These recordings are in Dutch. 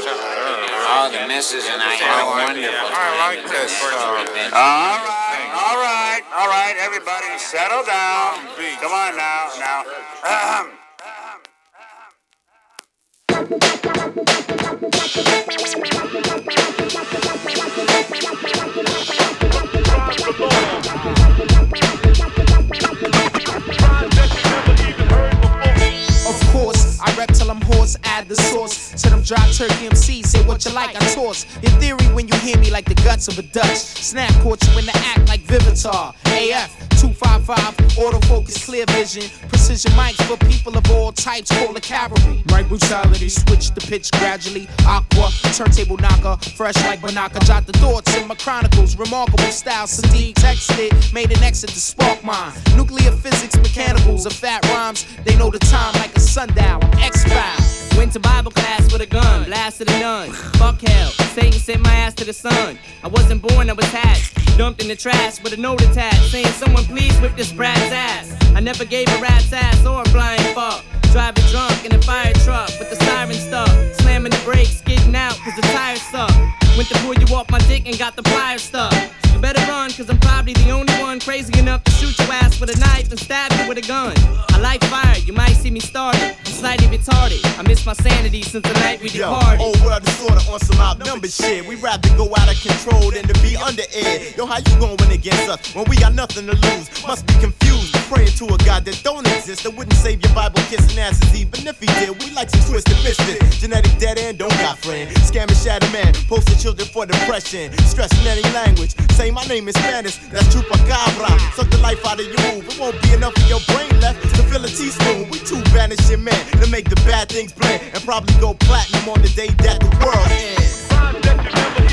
Oh, the missus and I had a wonderful I time. like this, uh, All right, all right, all right, everybody, settle down. Come on now, now. Ahem. Of course, I rap till I'm hoarse, add the sauce to them dry turkey MCs. Say what you like, I toss. In theory, when you hear me like the guts of a Dutch, snap caught you in the act like Vivitar. AF 255, autofocus, clear vision, precision mics for people of all types, call the cavalry. Right brutality, switch the pitch gradually. Aqua, turntable knocker, fresh like Banaka. Jot the thoughts in my chronicles, remarkable style. Sadiq texted, made an exit to spark mine. Nuclear physics, mechanicals, of fat rhymes. They know the time like a sundial. X file. Went to Bible class with a gun, blasted a nun. Fuck hell, Satan sent my ass to the sun. I wasn't born, I was hatched. Dumped in the trash with a note attached, saying someone please whip this brat's ass. I never gave a rat's ass or a flying fuck. Driving drunk in a fire truck with the siren stuck. Slamming the brakes, getting out cause the tires suck. Went to pull you off my dick and got the pliers stuck. You better run, cause I'm probably the only one crazy enough to shoot your ass with a knife and stab you with a gun. I like fire, you might see me started. I'm slightly retarded. I miss my sanity since the night we Yo, oh, departed. old world disorder on some outnumbered shit. We rather go out of control than to be under air. Yo, how you going against us when we got nothing to lose? Must be confused, praying to a God that don't exist. That wouldn't save your Bible kissing asses, even if he did. We like some twisted misfit. Genetic dead end, don't got friend. Scamming shadow man, posting children for depression. Stressing any language. Say my name in Spanish, that's chupacabra. Suck the life out of you, it won't be enough of your brain left to fill a teaspoon. We two vanishing men to make the bad things blend and probably go platinum on the day that the world ends.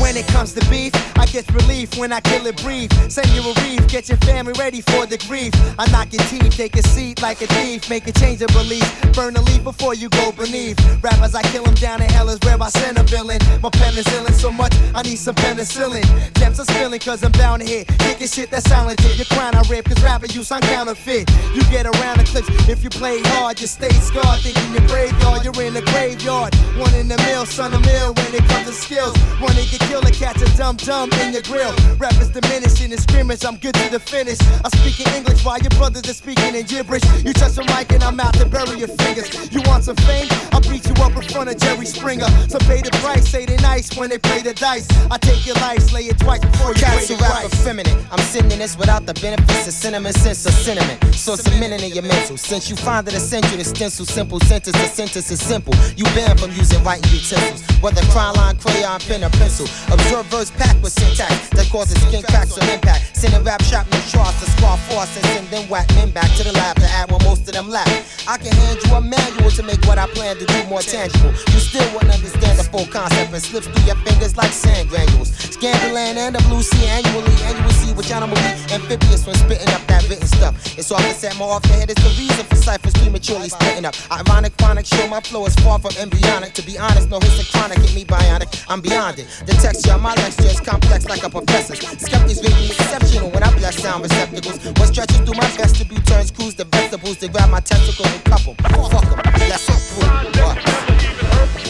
When it comes to beef, I get relief when I kill it brief. Send you a reef, get your family ready for the grief. I knock your teeth, take a seat like a thief, make a change of belief. Burn a leaf before you go beneath. Rappers, I kill 'em down in hell is where I send a villain. My pen is illin' so much, I need some penicillin. Gems are spilling cause I'm down here. Kicking shit that's talented. Your crown I rip cause rapper you sound counterfeit. You get around the clips if you play hard, you stay scarred. Thinking you're graveyard, you're in the graveyard. One in the mill, son of mill when it comes to skills. One to get killed or catch a dumb dumb in your grill. Rappers diminishing in scrimmage, I'm good to the finish. I speak in English while your brothers are speaking in gibberish. You touch the mic and I'm out to bury your fingers. You want some fame? I beat you up in front of Jerry Springer. So pay the price, say they nice when they play the dice. I take your life, slay it twice before you Cats pay who the rap price. effeminate. I'm sending this without the benefits of cinnamon sense or cinnamon. So cementing in your mental. Since you find it essential to stencil simple sentence, the sentence is simple. You ban from using writing utensils, whether cry line, crayon, pen, or pencil. Observe verse packed with syntax that causes skin cracks or impact. Sending rap shop no trust to squad force and send them whack men back to the lab to add what most of them lack. I can hand you a manual to make what I plan to do more tangible. You still wouldn't understand the full concept and slips through your fingers like sand granules. Scandaland and the blue sea annually, and you will see which animal be amphibious when spitting up that written stuff. It's often said more often head is the reason for ciphers prematurely splitting up. Ironic, chronic, sure my flow is far from embryonic. To be honest, no hiss chronic hit me bionic. I'm beyond it. The texture of my lecture is complex like a professor's. Skeptics make me exceptional when I bless sound receptacles. What stretches through my vestibule turns crews to vegetables. They grab my tentacles and cup 'em. Fuck 'em. Let's go through. What?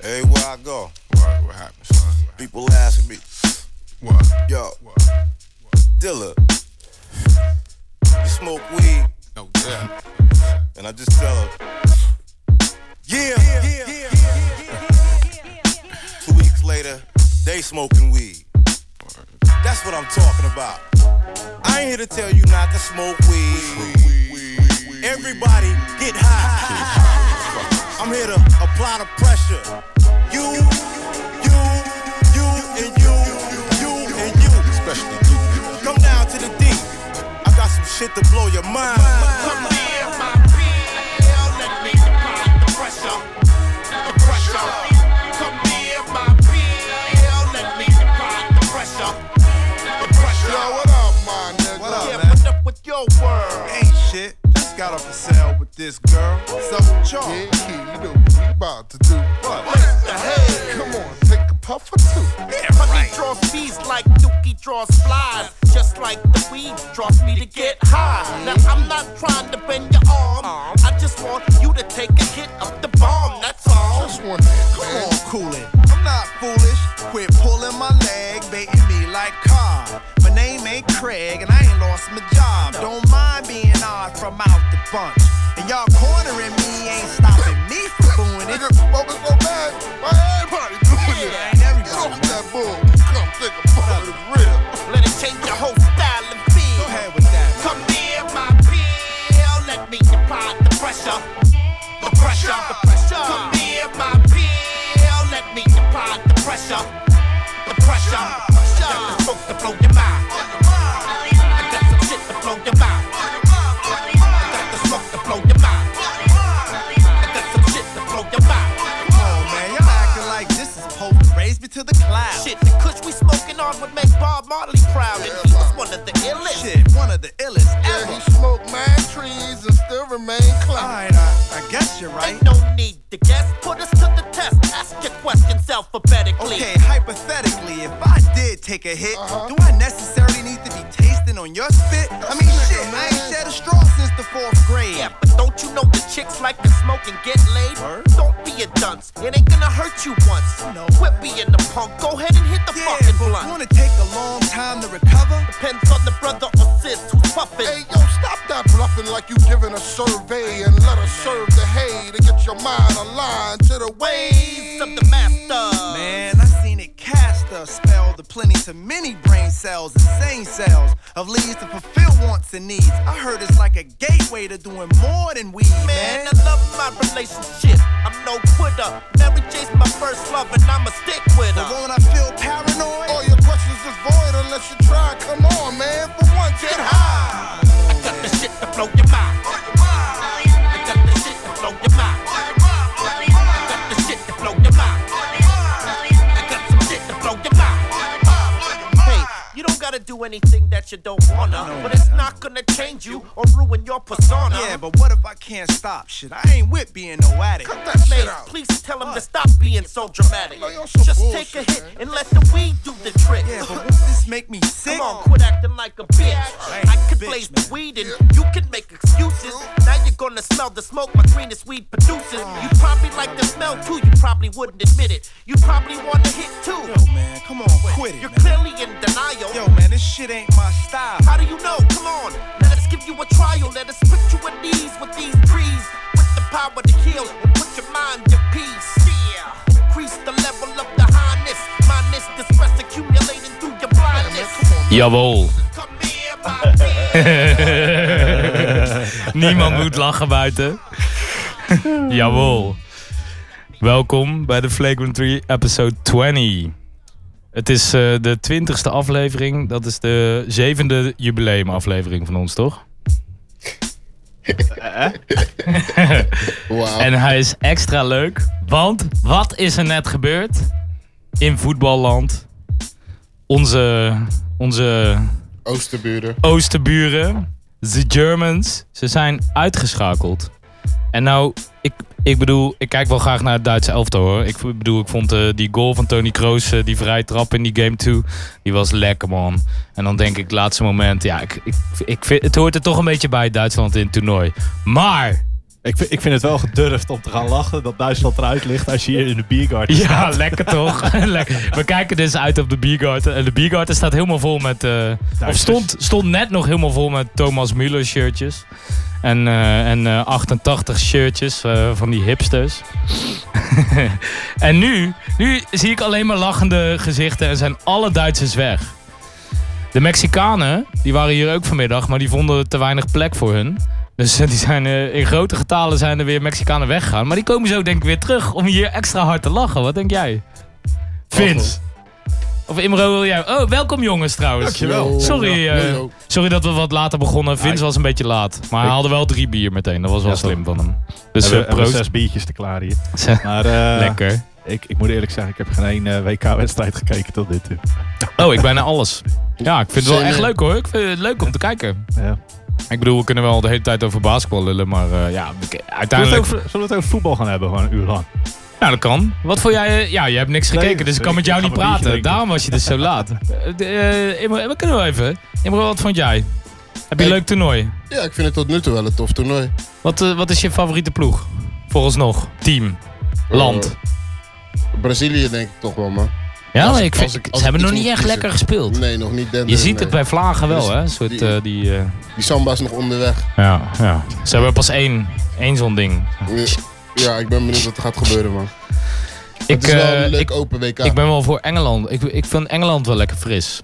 everywhere I go, What, what happened, son? What? happened? people asking me, What? yo, What? Dilla, you smoke weed, No doubt. and I just tell her, yeah, yeah, yeah, Two weeks later, they smoking weed. That's what I'm talking about. I ain't here to tell you not to smoke weed. Everybody get high. I'm here to apply the pressure. You, you, this, girl. So Yeah, yeah, you know what we about to do. What? the hey, come on, take a puff or two. Yeah, right. draws bees like Dookie draws flies. Just like the weed draws me to get high. Now I'm not trying to bend your arm. I just want you to take a hit of the bomb. That's all. Just one hit, Come man. on, cool it. I'm not foolish. Quit pulling my leg, baiting me like Cobb. My name ain't Craig, and I ain't lost my job. Don't mind being odd from out the bunch. And y'all cornering me ain't stopping me from doing it. Nigga, smoking so bad, why everybody doing Yeah, it? ain't everybody. Get off that bull. Come take a puff of the real. Let it change your whole style and Go feel. ahead with that. Come here, my pill. Let me apply the pressure. The pressure. The pressure. Come here, my pill. Let me apply the pressure. The pressure. Got the smoke to blow your mind. I got some shit to blow your mind. I got the smoke to blow your mind. I got some shit to blow your mind. Come on, man. Y'all acting like this is supposed to raise me to the clouds. Shit, the kush we smoking on would make Bob Marley proud. And he was one of the illest. Shit, one of the illest Yeah, ever. he smoked mad trees and still remain clown. Alright, I, I guess you're right. Ain't no need to guess. Put us to the test. Ask your questions alphabetically. Okay, hypothetically, if I did take a hit, Uh-huh. do I necessarily need to be tasting on your spit? I mean, shit, I ain't shed a straw since the fourth grade. Yeah, but don't you know the chicks like to smoke and get laid? Word. Don't be a dunce. It ain't gonna hurt you once. No. Quit being the punk. Go ahead and hit the Yeah, fucking but blunt. wanna take a long time to recover? Depends on the brother or sis who's puffin'. Hey, yo, stop that bluffing like you giving a survey and let us serve the hay to get your mind aligned to the Ways ways of the master. Man, I seen it cast a spell to plenty to many brain cells and sane cells of leads to fulfill wants and needs. I heard it's like a gateway to doing more than weed, man. Man, I love my relationship. I'm no quitter. Mary J's my first love, and I'ma stick with But her. won't I feel paranoid? All your questions is void unless you try. Come on, man. For one, get high. I got the shit to blow your mind. I got the shit to blow your mind. I got the shit to blow your mind. I got some shit to blow your mind. Hey, you don't gotta do anything that you don't wanna, but it's not gonna change you or ruin your persona. Yeah, Uh-huh. but what if I can't stop shit? I ain't with being no addict. Cut that shit Mate, out. please tell him to stop being so dramatic. Yo, you're so Just bullshit, take a hit man. and let the weed do the trick. Yeah, but won't this make me sick? Come on, quit acting like a bitch. ain't I a can bitch, blaze man. the weed and you can make excuses. Now you're gonna smell the smoke my greenest weed produces. You probably like the smell too, you probably wouldn't admit it. You probably want to hit too. Yo, man, come on, quit it, You're man. clearly in denial. Yo, man, this shit ain't my style. How do you know? Come on, let us give you a trial. Let us put you at ease with these trees, with the power to heal and put your mind at peace. Yeah. Increase the level of the highness, minus the stress accumulating through your blindness. Jawohl. Come here, my dear. Niemand moet lachen buiten. Jawohl. Welkom bij de Flagrant 3 episode 20. Het is eh, de 20ste aflevering. Dat is de zevende jubileumaflevering van ons, toch? Wow. En hij is extra leuk, want wat is er net gebeurd in voetballand? Onze, onze Oosterburen. oosterburen, de Germans, ze zijn uitgeschakeld. En nou, ik, ik bedoel, ik kijk wel graag naar het Duitse elftal hoor. Ik v- bedoel, ik vond eh, die goal van Tony Kroos, eh, die vrije trap in die game 2, die was lekker man. En dan denk ik, het laatste moment, ja, ik, ik, ik vind, het hoort er toch een beetje bij Duitsland in het toernooi. Maar, Ik, vind- ik vind het wel gedurfd om te gaan lachen dat Duitsland eruit ligt als je hier in de biergarten ja, staat. lekker toch? Lekker. We kijken dus uit op de Biergarten. En de Biergarten staat helemaal vol met, eh, of stond, stond net nog helemaal vol met Thomas Müller shirtjes. En, eh, en eh, 88 shirtjes eh, van die hipsters. en nu, nu zie ik alleen maar lachende gezichten en zijn alle Duitsers weg. De Mexicanen, die waren hier ook vanmiddag, maar die vonden te weinig plek voor hun. Dus eh, die zijn, eh, in grote getalen zijn er weer Mexicanen weggegaan. Maar die komen zo denk ik weer terug om hier extra hard te lachen. Wat denk jij? Vince. Of Imro wil jij... Oh, welkom jongens trouwens. Dankjewel. Sorry, Ja, eh, yo, yo. sorry dat we wat later begonnen. Vince was een beetje laat. Maar hij haalde wel drie bier meteen. Dat was wel Ja, slim van hem. Dus hebben, eh, hebben proost. zes biertjes te klaar hier. Maar eh, Lekker. Ik, ik moet eerlijk zeggen, ik heb geen één WK-wedstrijd gekeken tot dit toe. Oh, ik bijna alles. Ja, ik vind het wel Zin echt in. leuk hoor. Ik vind het leuk om te kijken. Ja. Ik bedoel, we kunnen wel de hele tijd over basketbal lullen, maar eh, ja, ik- Zullen we, uiteindelijk... het over, zullen we het over voetbal gaan hebben, gewoon een uur lang? Nou, dat kan. Wat vond jij? eh, Ja, je hebt niks Nee, gekeken, dus ik kan met jou ik ga niet mijn biertje praten. drinken. Daarom was je dus zo laat. Eh, de- eh, Imre, we kunnen wel even. Imre, wat vond jij? Heb je een leuk toernooi? Ja, ik vind het tot nu toe wel een tof toernooi. Wat, eh, wat is je favoriete ploeg? Vooralsnog. Team. Land. Brazilië denk ik toch wel, man. Ja, Als ik vind- als ik- ze als ik hebben iets nog niet moet kiezen. echt lekker gespeeld. Nee, nog niet. Je ziet het bij Vlagen wel, hè? Een soort, die, eh, die, eh, die samba is nog onderweg. Ja, ja. Ze hebben pas één, één zo'n ding. Ja, ik ben benieuwd wat er gaat gebeuren, man. Ik, is wel een eh, leuk ik, open WK. Ik ben wel voor Engeland. Ik, ik vind Engeland wel lekker fris.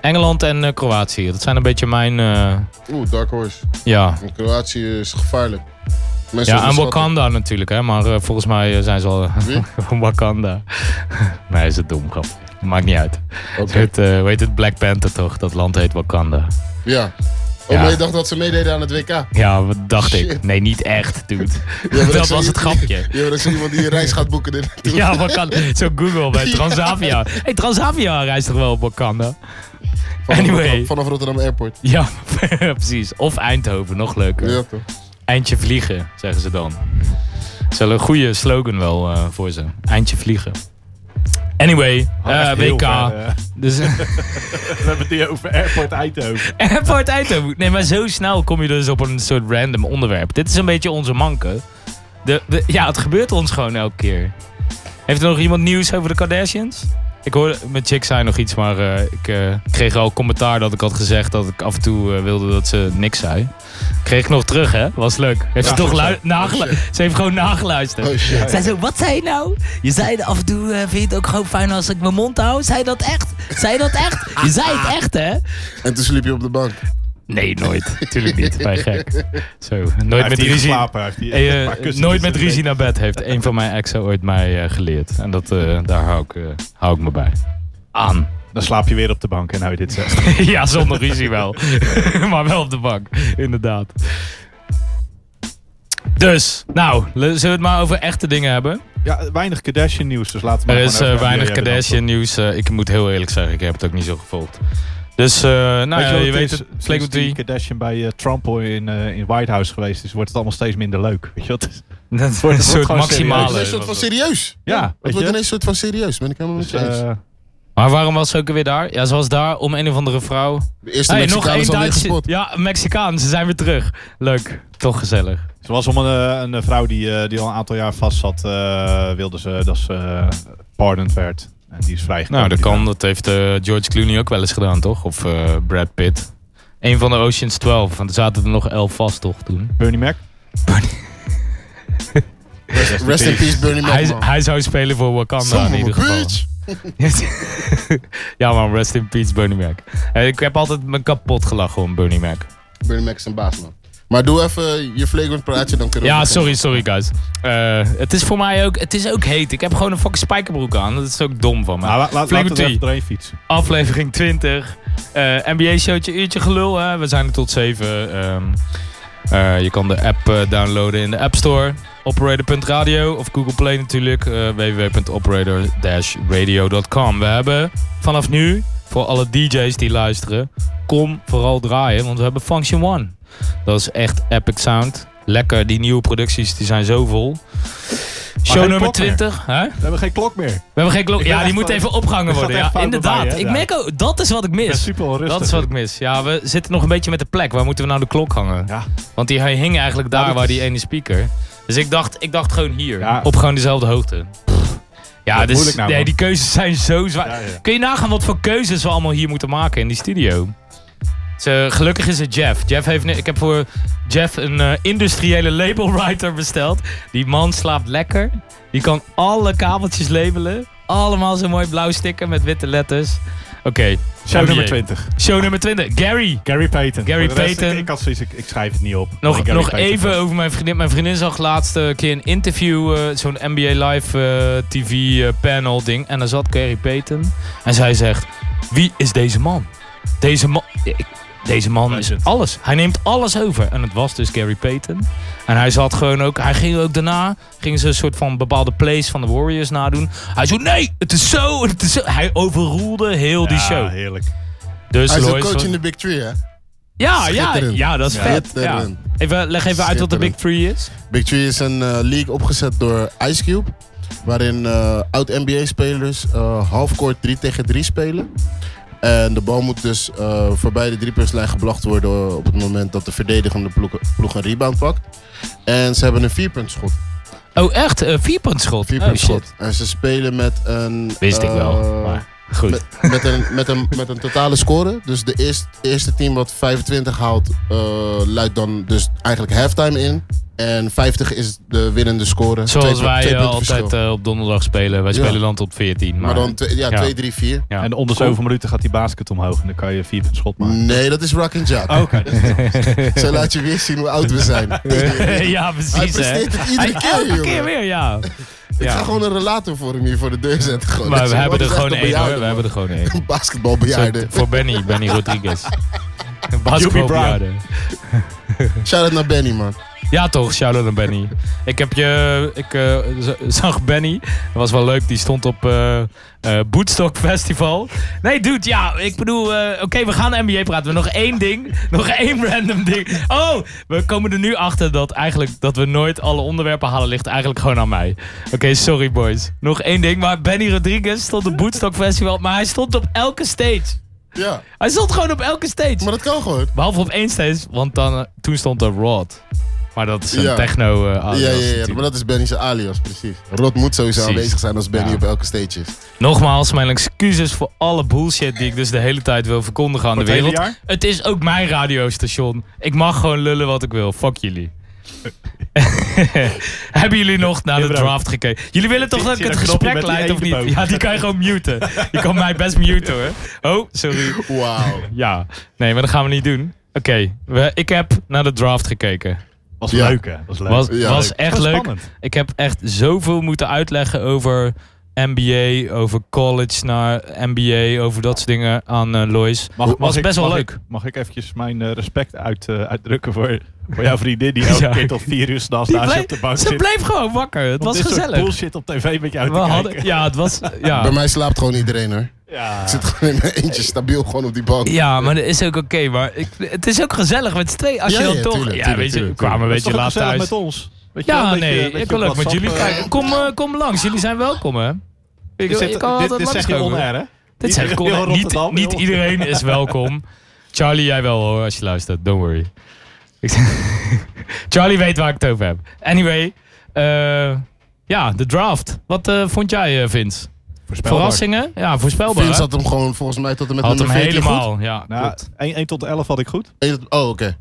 Engeland en eh, Kroatië. Dat zijn een beetje mijn... eh, Oeh, Dark Horse. ja. En Kroatië is gevaarlijk. Mensen ja, en onderschatten. Wakanda natuurlijk, hè. Maar eh, volgens mij eh, zijn ze al... Wakanda. nee, is het dom, grap. Maakt niet uit. Het heet, eh, hoe heet het? Black Panther, toch? Dat land heet Wakanda. Ja. Oh, Ja. maar je dacht dat ze meededen aan het WK? Ja, Ja, wat dacht ik. Shit. Nee, niet echt, dude. maar dat zo- was het grapje. Ja, maar dat is iemand die een reis gaat boeken. dit- Ja, Wakanda. Zo Google bij Transavia. hey, Transavia reist toch wel op Wakanda? Vanaf, Anyway. vanaf Rotterdam Airport. Ja, precies. Of Eindhoven, nog leuker. Ja, toch. Eindje vliegen, zeggen ze dan. Dat is wel een goede slogan wel eh, voor ze. Eindje vliegen. Anyway, Oh, eh, echt heel WK. ver, eh. dus, We hebben het hier over Airport Eindhoven. Airport Eindhoven. Nee, maar zo snel kom je dus op een soort random onderwerp. Dit is een beetje onze manke. De, de- ja, het gebeurt ons gewoon elke keer. Heeft er nog iemand nieuws over de Kardashians? Ik hoorde, met Chick zei nog iets, maar eh, ik eh, kreeg al commentaar dat ik had gezegd dat ik af en toe eh, wilde dat ze niks zei. Kreeg ik nog terug, hè? Was leuk. Heeft Ja, ze toch goed zo. lu- Oh, nagelu- Ze heeft gewoon nageluisterd. Oh, Zij Zij zo, wat zei je nou? Je zei af en toe, eh, vind je het ook gewoon fijn als ik mijn mond hou? Zei je dat echt? Zei je dat echt? Je zei het echt, hè? En toen sliep je op de bank. Nee, nooit. Tuurlijk niet. Bij gek. Zo, nooit heeft met hier ruzie. geslapen, hij heeft hier Eh, een paar kussens nooit tussen met de ruzie naar bed heeft een van mijn exen ooit mij eh, geleerd. En dat, eh, daar hou ik, eh, hou ik me bij. Aan. Dan slaap je weer op de bank en nou je dit zegt. ja, zonder ruzie wel. maar wel op de bank, inderdaad. Dus, nou, le- zullen we het maar over echte dingen hebben? Ja, weinig Kardashian nieuws, dus laten we Er maar is gewoon eh, over weinig NBA hebben dan. Kardashian nieuws. Eh, ik moet heel eerlijk zeggen, ik heb het ook niet zo gevolgd. Dus, eh, nou ja, je weet het. Flick Sinds die Kardashian bij eh, Trump in, eh in White House geweest is, wordt het allemaal steeds minder leuk. Weet je wat? Het wordt- wordt een soort gewoon maximale- serieus. Het wordt een soort van serieus. Ja, Het weet je? Dus, eh, wordt ineens een soort van serieus. Ben ik helemaal met je eens. Maar waarom was ze ook weer daar? Ja, ze was daar om een of andere vrouw. De eerste Mexicaan is alweer gespot. Ja, een Mexicaan, ze zijn weer terug. Leuk, toch gezellig. Ze was om een, eh, een eh, vrouw die, eh, die al een aantal jaar vast zat, eh, wilde ze dat ze eh, pardoned werd. En die is vrijgekomen. Nou, dat Die kan. vrouw. Dat heeft eh, George Clooney ook wel eens gedaan, toch? Of eh, Brad Pitt. Een van de Ocean's 12, want er zaten er nog 11 vast, toch, toen? Bernie Mac? Rest in peace, Bernie Mac. Hij, man. hij zou spelen voor Wakanda Son of in a ieder geval. bitch. ja man, rest in peace Bernie Mac. Eh, Ik heb altijd me kapot gelachen om Bernie Mac. Bernie Mac is een baas, man. Maar doe even je flagrant praatje, dan kunnen we Ja, beginnen. sorry, sorry guys. Eh, het is voor mij ook, het is ook heet. Ik heb gewoon een fucking spijkerbroek aan. Dat is ook dom van me. Nou, laat, laat, Flaco laten we T, er even doorheen fietsen. aflevering Eh, 20. NBA-showtje, uurtje gelul. Hè? We zijn er tot 7. ehm. Eh, je kan de app eh, downloaden in de App Store. Operator.radio of Google Play natuurlijk. eh, www.operator-radio.com. We hebben vanaf nu, voor alle DJ's die luisteren, kom vooral draaien. Want we hebben Function One. Dat is echt epic sound. Lekker, die nieuwe producties die zijn zo vol. Show geen nummer klok meer. 20. Hè? We hebben geen klok meer. We hebben geen klok. Ik ben Ja, die echt moet wel- even opgehangen Het gaat worden. echt Ja, fout bij inderdaad. mij, hè? ik Ja. merk ook, dat is wat ik mis. ben super onrustig. Dat is wat ik mis. Ja, we zitten nog een beetje met de plek. Waar moeten we nou de klok hangen? Want die hij hing eigenlijk daar Nou, dat waar is- die ene speaker. Dus ik dacht, ik dacht gewoon hier. Ja. Op gewoon dezelfde hoogte. Pff. Ja, Wat dus, moeilijk nou, nee, man. die keuzes zijn zo zwaar. Ja, ja. Kun je nagaan wat voor keuzes we allemaal hier moeten maken in die studio? Ze, gelukkig is het Jeff. Jeff heeft, ne- ik heb voor Jeff een eh, industriële labelwriter besteld. Die man slaapt lekker. Die kan alle kabeltjes labelen. Allemaal zo'n mooi blauw sticker met witte letters. Oké. Show Oh, nummer jee. 20. Show nummer 20. Gary. Gary Payton. Gary Voor de rest, Payton. Ik, ik, had zoiets, ik, ik schrijf het niet op. Nog, Ik Gary nog Payton. even over mijn vriendin. Mijn vriendin zag laatst eh, een keer een interview, eh, zo'n NBA Live eh, TV eh, panel ding. En daar zat Gary Payton. En zij zegt, wie is deze man? Deze man... ik- Deze man is alles. Hij neemt alles over. En het was dus Gary Payton. En hij zat gewoon ook... Hij ging ook daarna... Ging ze een soort van bepaalde plays van de Warriors nadoen. Hij zo... Nee, het is zo, het is zo. Hij overroelde heel die Ja, show. heerlijk. Dus hij is een Lois coach was- in de Big Three, hè? Ja, ja, Schitterend. ja, dat is vet. Ja. Schitterend. Even, leg even uit wat de Big Schitterend. Three is. Big Tree is een eh, league opgezet door Ice Cube. Waarin eh, oud-NBA-spelers eh, halfcourt 3 tegen 3 spelen. En de bal moet dus eh, voorbij de driepuntslijn geblacht worden op het moment dat de verdedigende ploeg, ploeg een rebound pakt. En ze hebben een vierpuntschot. Oh, echt? Een vierpuntschot? Oh, Vierpuntschot. en ze spelen met een... Wist ik wel, eh, maar goed. Met, met, een, met, een, met een totale score. Dus de eerst, eerste team wat 25 haalt, eh, luidt dan dus eigenlijk halftime in. En 50 is de winnende score. Zoals Twee- wij twee eh, punten verschil. altijd eh, op donderdag spelen. Wij Ja. spelen dan tot 14. Maar, Maar dan twee- ja, twee, drie, vier. Ja. En om de zoveel minuten gaat die basket omhoog en dan kan je vier schot maken. Nee, dat is Rock and Jack. Oh, Oké. dat is anders. Zo laat je weer zien hoe oud we zijn. ja, Hij precies. hè. presteert het iedere Hij- keer, Elke jongen. keer weer, ja. Ik Ja. ga gewoon een relator voor hem hier voor de deur zetten. Gewoon. Maar Dat we is- hebben dat er is echt gewoon een één hoor. bejaarde, We hebben er gewoon één. man. Basketbalbejaarde. Zo, Voor Benny, Benny Rodriguez. Een Basketbalbejaarde. Shout-out naar Benny, man. Ja toch, shout-out aan Benny. Ik heb je, ik eh, z- zag Benny, dat was wel leuk, die stond op eh eh, Woodstock Festival. Nee dude, ja, ik bedoel, eh, oké we gaan NBA praten, maar nog één ding, nog één random ding. Oh, we komen er nu achter dat eigenlijk, dat we nooit alle onderwerpen halen, ligt eigenlijk gewoon aan mij. Oké, sorry boys. Nog één ding, maar Benny Rodriguez stond op Woodstock Festival, maar hij stond op elke stage. Ja. Hij stond gewoon op elke stage. Maar dat kan gewoon. Behalve op één stage, want dan, eh, toen stond er Rod. Maar dat is een Ja. techno eh, ja, alias ja, ja, natuurlijk. maar dat is Benny's alias, precies. Rod moet sowieso Precies. aanwezig zijn als Benny Ja. op elke stage is. Nogmaals, mijn excuses voor alle bullshit die ik dus de hele tijd wil verkondigen aan Voor de het wereld. hele jaar? Het is ook mijn radiostation. Ik mag gewoon lullen wat ik wil. Fuck jullie. Hebben jullie nog naar de Jawel. draft gekeken? Jullie willen toch Zie- dat ik zie het dat knopje gesprek met die leid of niet? eendenboog? Ja, die kan je gewoon muten. Je kan mij best muten hoor. Oh, sorry. Wauw. Ja, nee, maar dat gaan we niet doen. Oké, we- ik heb naar de draft gekeken. Was Ja. leuk, hè? Was leuk. Was, Ja. was echt Was leuk. spannend. Ik heb echt zoveel moeten uitleggen over NBA, over college naar NBA, over dat soort dingen aan eh Lois. was ik- best wel mag leuk. Ik, mag ik eventjes mijn eh, respect uit, eh, uitdrukken voor, voor jouw vriendin die elke Ja. keer tot vier uur s'nachts Die naast je bleef- op de bank ze zit? bleef gewoon wakker. Het Om was dit soort gezellig. bullshit op tv met jou We te hadden- kijken. ja, het was... Ja. Bij mij slaapt gewoon iedereen hoor. Ja. Ik zit gewoon in mijn eentje stabiel gewoon op die bank. Ja, maar dat is ook oké. maar ik, het is ook gezellig met z'n tweeën. Als Ja, je dan ja, toch... tuurlijk, ja, tuurlijk, weet je, tuurlijk, kwamen een tuurlijk. beetje Dat is toch laat thuis. gezellig met ons? Weet je ja, wel, een beetje- nee. een beetje ik wil op ook met WhatsApp, jullie eh, kijken. Kom, eh, kom langs. Jullie zijn welkom, hè? Ik, Dit zit- ik kan dit- altijd dit zeg je langskomen. on-air, hè? Dit zeg ik Heel on-air. Niet, Rotterdam, niet heel- iedereen is welkom. Charlie, jij wel hoor, als je luistert. Don't worry. Ik- Charlie weet waar ik het over heb. Anyway, eh, ja, de draft. Wat eh, vond jij, eh Vince? Verrassingen? Ja, voorspelbaar. Vince hè? had hem gewoon volgens mij tot en met Had nummer hem 14 helemaal, goed. ja, Nou, 1, tot 11 had ik goed. Eh, oh, oké.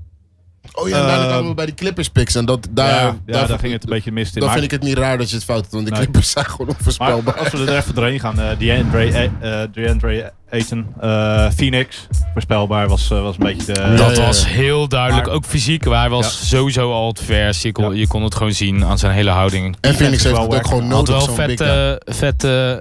Oh ja, en daarna kwamen we bij die Clippers picks. En dat, daar, Ehm, Ja, ja, daar ging het een beetje mis in, Dan maar- vind ik het niet raar dat je het fout doet, want die Nee. Clippers zijn gewoon Maar onvoorspelbaar. als we er even doorheen gaan, eh DeAndre, eh, eh, DeAndre Ayton, eh, Phoenix, voorspelbaar was, eh, was een beetje de... dat was heel duidelijk. Maar- ook fysiek. Hij was sowieso al het vers. Je kon, je kon het gewoon zien aan zijn hele houding. En Phoenix heeft het ook gewoon Had nodig, wel zo'n big vet, guy. eh, vet eh,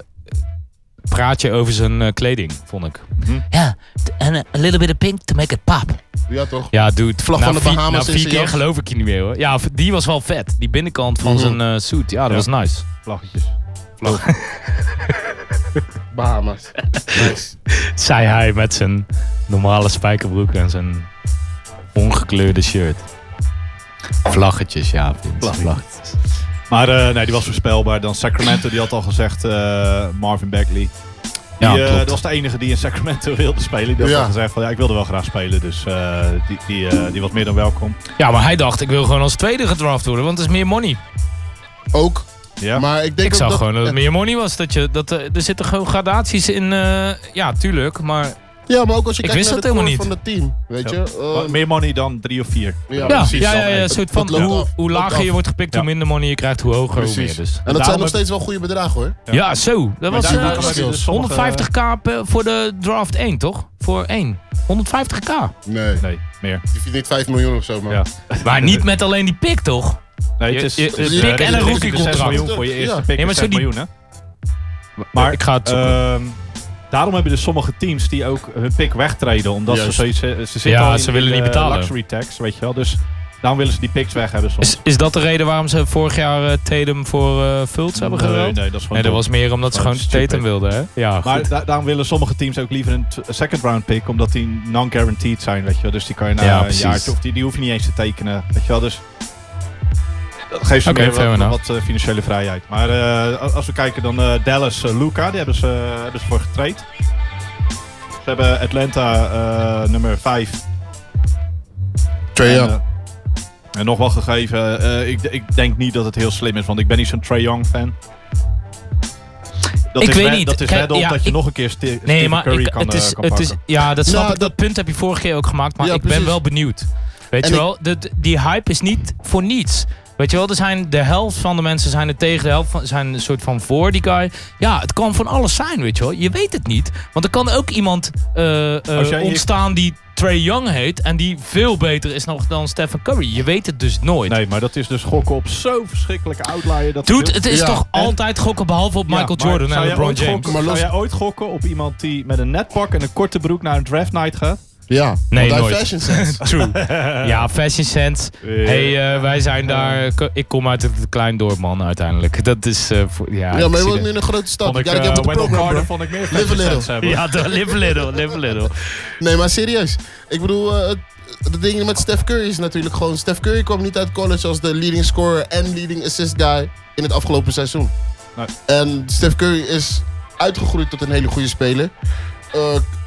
praatje over zijn eh, kleding, vond ik. Hm? Ja, t- en eh, a little bit of pink to make it pop. Ja, toch? Ja, dude. Vlag na van de vier- Bahamas in Na vier zijn keer jas. geloof ik je niet meer hoor. Ja, v- die was wel vet. Die binnenkant van Mhm. zijn eh suit. Ja, dat Ja. was nice. eh, Vlaggetjes. Bahamas. Nice. Zei hij met zijn normale spijkerbroek en zijn ongekleurde shirt. Vlaggetjes, ja. Vince, Vlaggetjes. Maar eh, nee, die was voorspelbaar. Dan Sacramento, die had al gezegd eh, Marvin Bagley. Die, Ja, eh, klopt. dat was de enige die in Sacramento wilde spelen. Die had Ja. al gezegd van ja, ik wilde wel graag spelen. Dus eh, die, die, eh, die was meer dan welkom. Ja, maar hij dacht, ik wil gewoon als tweede gedraft worden, want het is meer money. Ook. Ja. Maar ik denk ik ook zag dat- gewoon dat het meer money was. Dat je, dat, eh, er zitten gewoon gradaties in. eh, ja, tuurlijk, maar... Ja, maar ook als je ik kijkt naar wist dat de helemaal core niet. van het team, weet je. eh, Wat meer money dan drie of vier. Ja, Ja, precies. ja, ja, ja, Dat- een soort van dat loopt hoe, af. hoe Dat lager loopt je af. wordt gepikt, hoe minder money je krijgt, hoe hoger, hoe meer. Precies. Dus. En dat zijn nog steeds wel goede bedragen hoor. Ja, zo. Dat was eh, verschil. 150k per- voor de draft 1, toch? Voor 1. 150k. Nee. Nee, meer. Je verdient 5 miljoen of zo, man. Maar niet met alleen die pick, toch? Nee, het is- Je- je- het is, een eh, pick en een het is rookie 6 contract. miljoen voor je eerste pick Nee, maar is zo 6 die- miljoen, hè? Maar ik ga het zoeken. ehm, daarom hebben dus sommige teams die ook hun pick wegtreden. Omdat ze Juist. zoiets, eh, ze zitten Ja, al in ze willen die, niet eh, betalen. luxury tax, weet je wel. Dus Daarom willen ze die picks weg hebben soms. Is, is dat de reden waarom ze vorig jaar eh, Tatum voor eh Fultz hebben Nee, geruild? nee, dat is gewoon Nee, dat dom. was meer omdat ze Gewoon gewoon Tatum stupid. wilden, hè? Ja, maar goed. da- daarom willen sommige teams ook liever een t- second round pick, omdat die non-guaranteed zijn, weet je wel. Dus die kan je na Ja, een precies. jaartje, of die, die hoef je niet eens te tekenen, weet je wel. Dus dat geeft ze Oké, meer fair wat, enough. wat, eh, financiële vrijheid. Maar eh, a- als we kijken dan eh, Dallas, eh, Luca, die hebben ze, hebben ze voor getraind. Ze hebben Atlanta eh, nummer 5. Trae Young. En nog wel gegeven, eh, ik, ik denk niet dat het heel slim is, want ik ben niet zo'n Trae Young fan. Dat Ik is weet red- niet. Dat is Kijk, red op ja, dat je ik- nog een keer Ste- Nee, Stephen maar Curry ik- kan, het eh, is, kan het is, pakken. ja, dat snap Nou, ik. Dat punt heb je vorige keer ook gemaakt, maar Ja, ik ben precies. wel benieuwd. Weet En je ik- wel, de, de- die hype is niet voor niets. Weet je wel, er zijn, de helft van de mensen zijn er tegen, de helft van, zijn een soort van voor die guy. Ja, het kan van alles zijn, weet je wel. Je weet het niet, want er kan ook iemand eh, eh, Als jij- ontstaan die Trae Young heet en die veel beter is nog dan Stephen Curry. Je weet het dus nooit. Nee, maar dat is dus gokken op zo verschrikkelijke outlier. Dat Dude, het is Ja. toch En- altijd gokken behalve op Ja, Michael maar Jordan zou en jij LeBron ooit James. gokken- zou jij ooit gokken op iemand die met een netpak en een korte broek naar een draft night gaat? Ja, Nee, want hij nooit. fashion sense. True. ja, Fashion Sense. hey, eh, wij zijn daar. ik- Ik kom uit het klein dorp, man, uiteindelijk. Dat is. eh, voor, ja, Ja, ik maar je zie woont nu dat. in een grote stad. Vond ik, ja, ik eh, heb het Wendell programma. Carter bro. vond ik meer Live a fashion sense little. hebben. Ja, de- live a little, live a little. Nee, maar serieus. Ik bedoel, eh, het- de dingen met Steph Curry is natuurlijk gewoon... Steph Curry kwam niet uit college als de leading scorer en leading assist guy in het afgelopen seizoen. En Steph Curry is uitgegroeid tot een hele goede speler. Eh,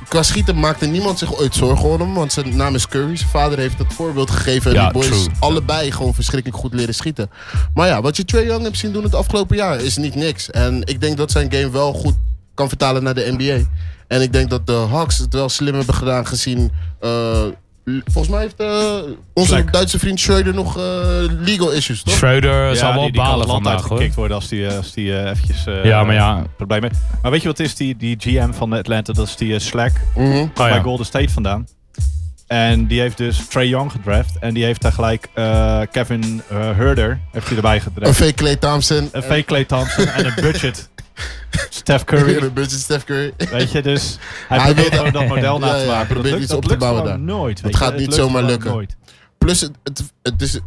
qua schieten maakte niemand zich ooit zorgen om hem, want zijn naam is Curry. Zijn vader heeft het voorbeeld gegeven. En Ja, die boys true. allebei gewoon verschrikkelijk goed leren schieten. Maar ja, wat je Trae Young hebt zien doen het afgelopen jaar is niet niks. En ik denk dat zijn game wel goed kan vertalen naar de NBA. En ik denk dat de Hawks het wel slim hebben gedaan gezien... eh, l- volgens mij heeft eh, onze Duitse vriend Schreuder nog eh, legal issues, toch? Schreuder Ja, zal wel die, die balen kan het land vandaag, hoor. uitgekikt worden als die, eh, als die eh, eventjes eh, Ja, maar ja. problemen heeft. Maar weet je wat is die, die GM van Atlanta? Dat is die eh, Slack Mhm. bij Oh, ja. Golden State vandaan. En die heeft dus Trae Young gedraft. En die heeft daar gelijk eh, Kevin eh, Herder heeft hij erbij gedraft. Een fake Clay Thompson. Een fake Clay Thompson en een budget Steph Curry. Curry. een budget Steph Curry. Weet je, dus hij Hij probeert wil gewoon dat model na Ja, te ja, maken. hij probeert dat lukt, iets dat op te lukt bouwen daar. gewoon nooit. Het weet je. gaat niet lukt zomaar gewoon lukken. nooit. Plus, het, het, het is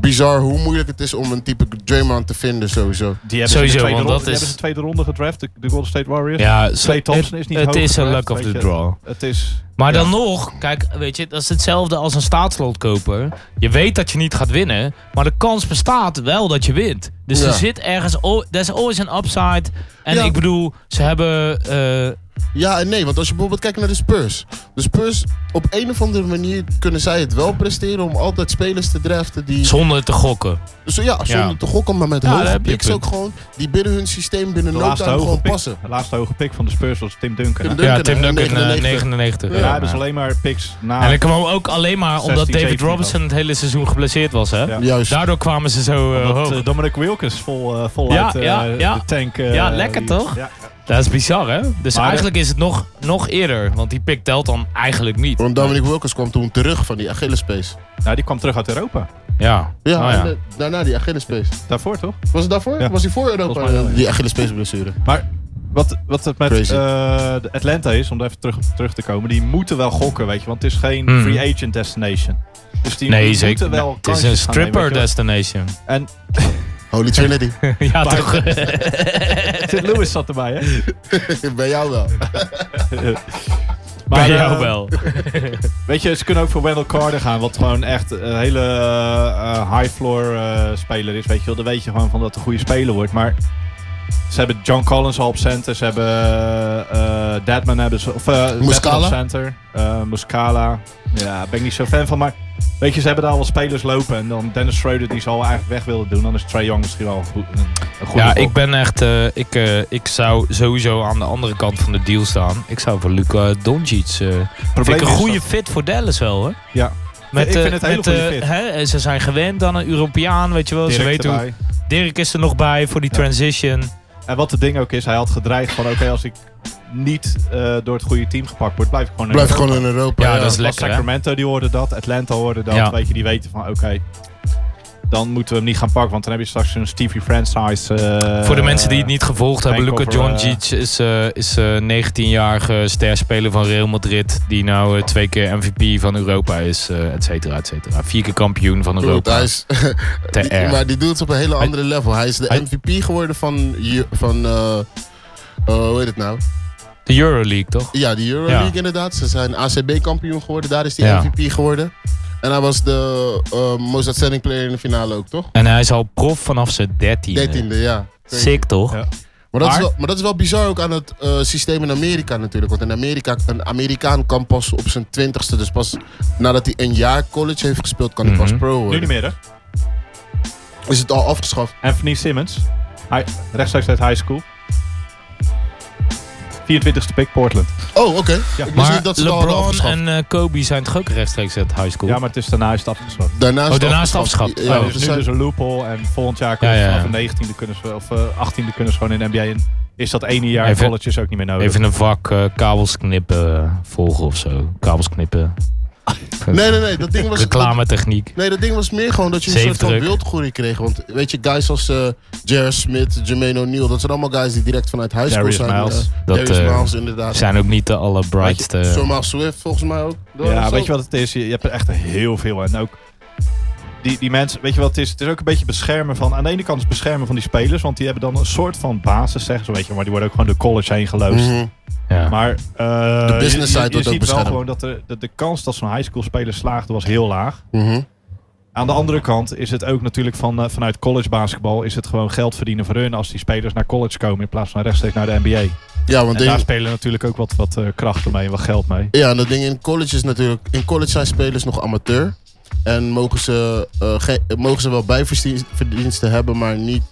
bizar hoe moeilijk het is om een type Draymond te vinden, sowieso. Die hebben ze in de tweede ronde, die hebben ze tweede ronde gedraft, de, de Golden State Warriors. Ja, Clay het- Thompson is niet het hoog is een gedraft, luck of weet the je. draw. Het is... Maar dan ja. nog, kijk, weet je, dat is hetzelfde als een staatslotkoper. Je weet dat je niet gaat winnen, maar de kans bestaat wel dat je wint. Dus Ja. er zit ergens, al- there's always an upside. En Ja. ik bedoel, ze hebben... eh, Ja en nee, want als je bijvoorbeeld kijkt naar de Spurs. De Dus Spurs, op een of andere manier kunnen zij het wel presteren om altijd spelers te draften die... zonder te gokken. Zo, ja, zonder Ja. te gokken, maar met Ja, daar hoge heb je picks een ook punt. gewoon. Die binnen hun systeem binnen De no laatste, time hoge gewoon pick, passen. de laatste hoge pick van de Spurs was Tim Duncan. Tim Duncan, ja, Tim hè, Duncan, eh, 99. 99. Ja, hebben ze alleen maar picks na... En ik kwam ook alleen maar 16, omdat David 17 Robinson het hele seizoen geblesseerd was, hè? Juist. Daardoor kwamen ze zo eh, Omdat, hoog. eh, Dominic Wilkins vol, eh, voluit eh, Ja, ja, ja. de tank... eh, ja, lekker die- toch? Ja. Dat is bizar, hè? Dus Maar, eh, eigenlijk is het nog, nog eerder, want die pick telt dan eigenlijk niet. Want Dominic Wilkins kwam toen terug van die Achillespees. Nou, die kwam terug uit Europa. Ja. Ja, Oh, en ja. de- daarna die Achillespees. Daarvoor toch? Was het daarvoor? Ja. Was hij voor Europa? Volgens mij wel, ja. Die Achillespees blessure. Maar wat, wat het met Crazy. eh, de Atlanta is, om daar even terug, op terug te komen, die moeten wel gokken, weet je. Want het is geen Hmm. free agent destination. Dus die Nee, moeten wel zeker. Nou, het is kansjes een gaan nemen, stripper weet je wel. destination. En Holy Trinity. ja, Maar- toch? St. Louis zat erbij, hè? Bij jou wel. Bij jou eh, wel. Weet je, ze kunnen ook voor Wendell Carter gaan, wat gewoon echt een hele eh, high floor eh, speler is. Weet je wel, dan weet je gewoon van dat het een goede speler wordt. Maar ze hebben John Collins al op center, ze hebben eh Deadman hebben ze, of eh, Deadman Muscala? op center, eh Muscala. Ja, daar ben ik niet zo fan van, maar weet je, ze hebben daar al wat spelers lopen. En dan Dennis Schroeder die ze al eigenlijk weg willen doen, dan is Trae Young misschien wel een, goed, een, een goede Ja, gok. ik ben echt. eh, ik, eh, ik zou sowieso aan de andere kant van de deal staan. Ik zou voor Luca Doncic. eh vind ik een is goede dat- fit voor Dallas wel, hoor. Ja. Met, ik eh, vind het een hele met, goede eh, fit. hè, ze zijn gewend aan een Europeaan, weet je wel. ze Dirk weten hoe, erbij. Dirk is er nog bij voor die transition. En wat het ding ook is, hij had gedreigd van oké, als ik niet eh, door het goede team gepakt word, blijf ik gewoon in Blijf Europa. gewoon in Europa, Ja, ja. dat is Want lekker, hè? Sacramento die hoorde dat, Atlanta hoorde dat, Ja. weet je, die weten van oké, dan moeten we hem niet gaan pakken. Want dan heb je straks een Stevie franchise. eh, Voor de mensen die het niet gevolgd hebben, Luca hangover, eh, Doncic is, eh, is een 19-jarige sterspeler van Real Madrid. Die nou eh, twee keer MVP van Europa is, eh, et cetera, et cetera. Vier keer kampioen van Broer, Europa. hij is- Te Die- erg. maar die doet het op een hele andere level. Hij is de MVP geworden van, Eu- van eh, eh, hoe heet het nou? De Euroleague, toch? Ja, de Euroleague inderdaad. Ze zijn ACB-kampioen geworden. Daar is hij Ja. MVP geworden. En hij was de eh, most outstanding player in de finale ook, toch? En hij is al prof vanaf zijn 13e. 13e, ja. Sick, toch? Maar dat, Maar- Is wel, maar dat is wel bizar ook aan het eh, systeem in Amerika natuurlijk. Want in Amerika, een Amerikaan kan pas op zijn twintigste. Dus pas nadat hij een jaar college heeft gespeeld, kan hij pas pro worden. Mhm. Nu niet meer, hè? Is het al afgeschaft? Anthony Simmons. Hij, rechtstreeks uit high school. 24ste pick Portland. Oh, oké. Ik wist Maar niet dat ze het al hadden LeBron afgeschaft. en eh, Kobe zijn toch ook rechtstreeks uit high school? Ja, maar het is daarna is het afgeschaft. Daarnaast Oh, daarna is het afgeschaft. Ja, Oh. dus nu dus een loophole en volgend jaar kunnen Ja, ze ja. vanaf de 19e kunnen ze, of eh, 18e kunnen ze gewoon in de NBA in. Is dat ene jaar Even- college is ook niet meer nodig. Even een vak eh, kabels knippen eh, volgen of zo. Kabels knippen. Nee, nee, nee. Dat ding was... Oh. Reclame techniek. Nee, dat ding was meer gewoon dat je een soort van Zeefdruk. wildgroei kreeg. Want weet je, guys als eh J.R. Smith, Jermaine O'Neal, dat zijn allemaal guys die direct vanuit high school Darius zijn. Miles. eh, Dat, Darius eh, Miles, inderdaad. Zijn ook niet de Weet je, allerbrightste. Zomaar Swift volgens mij ook. Ja, weet je wat het is? Je je hebt er echt heel veel. En ook die, die mensen, weet je wat het is? Het is ook een beetje beschermen van, aan de ene kant is het beschermen van die spelers, want die hebben dan een soort van basis, zeggen ze, weet je, maar die worden ook gewoon de college heen geloosd. Mhm. Maar eh, De business side je, je, wordt ook je ziet wel beschermd. gewoon dat de, de, de kans dat zo'n high school speler slaagde was heel laag. Mhm. Aan de andere kant is het ook natuurlijk van, eh, vanuit college basketbal is het gewoon geld verdienen voor hun als die spelers naar college komen in plaats van rechtstreeks naar de NBA. Ja, want en die- daar spelen natuurlijk ook wat, wat eh, krachten mee en wat geld mee. Ja, en dat ding in college is natuurlijk. In college zijn spelers nog amateur. En mogen ze, eh, ge- mogen ze wel bijverdiensten hebben, maar niet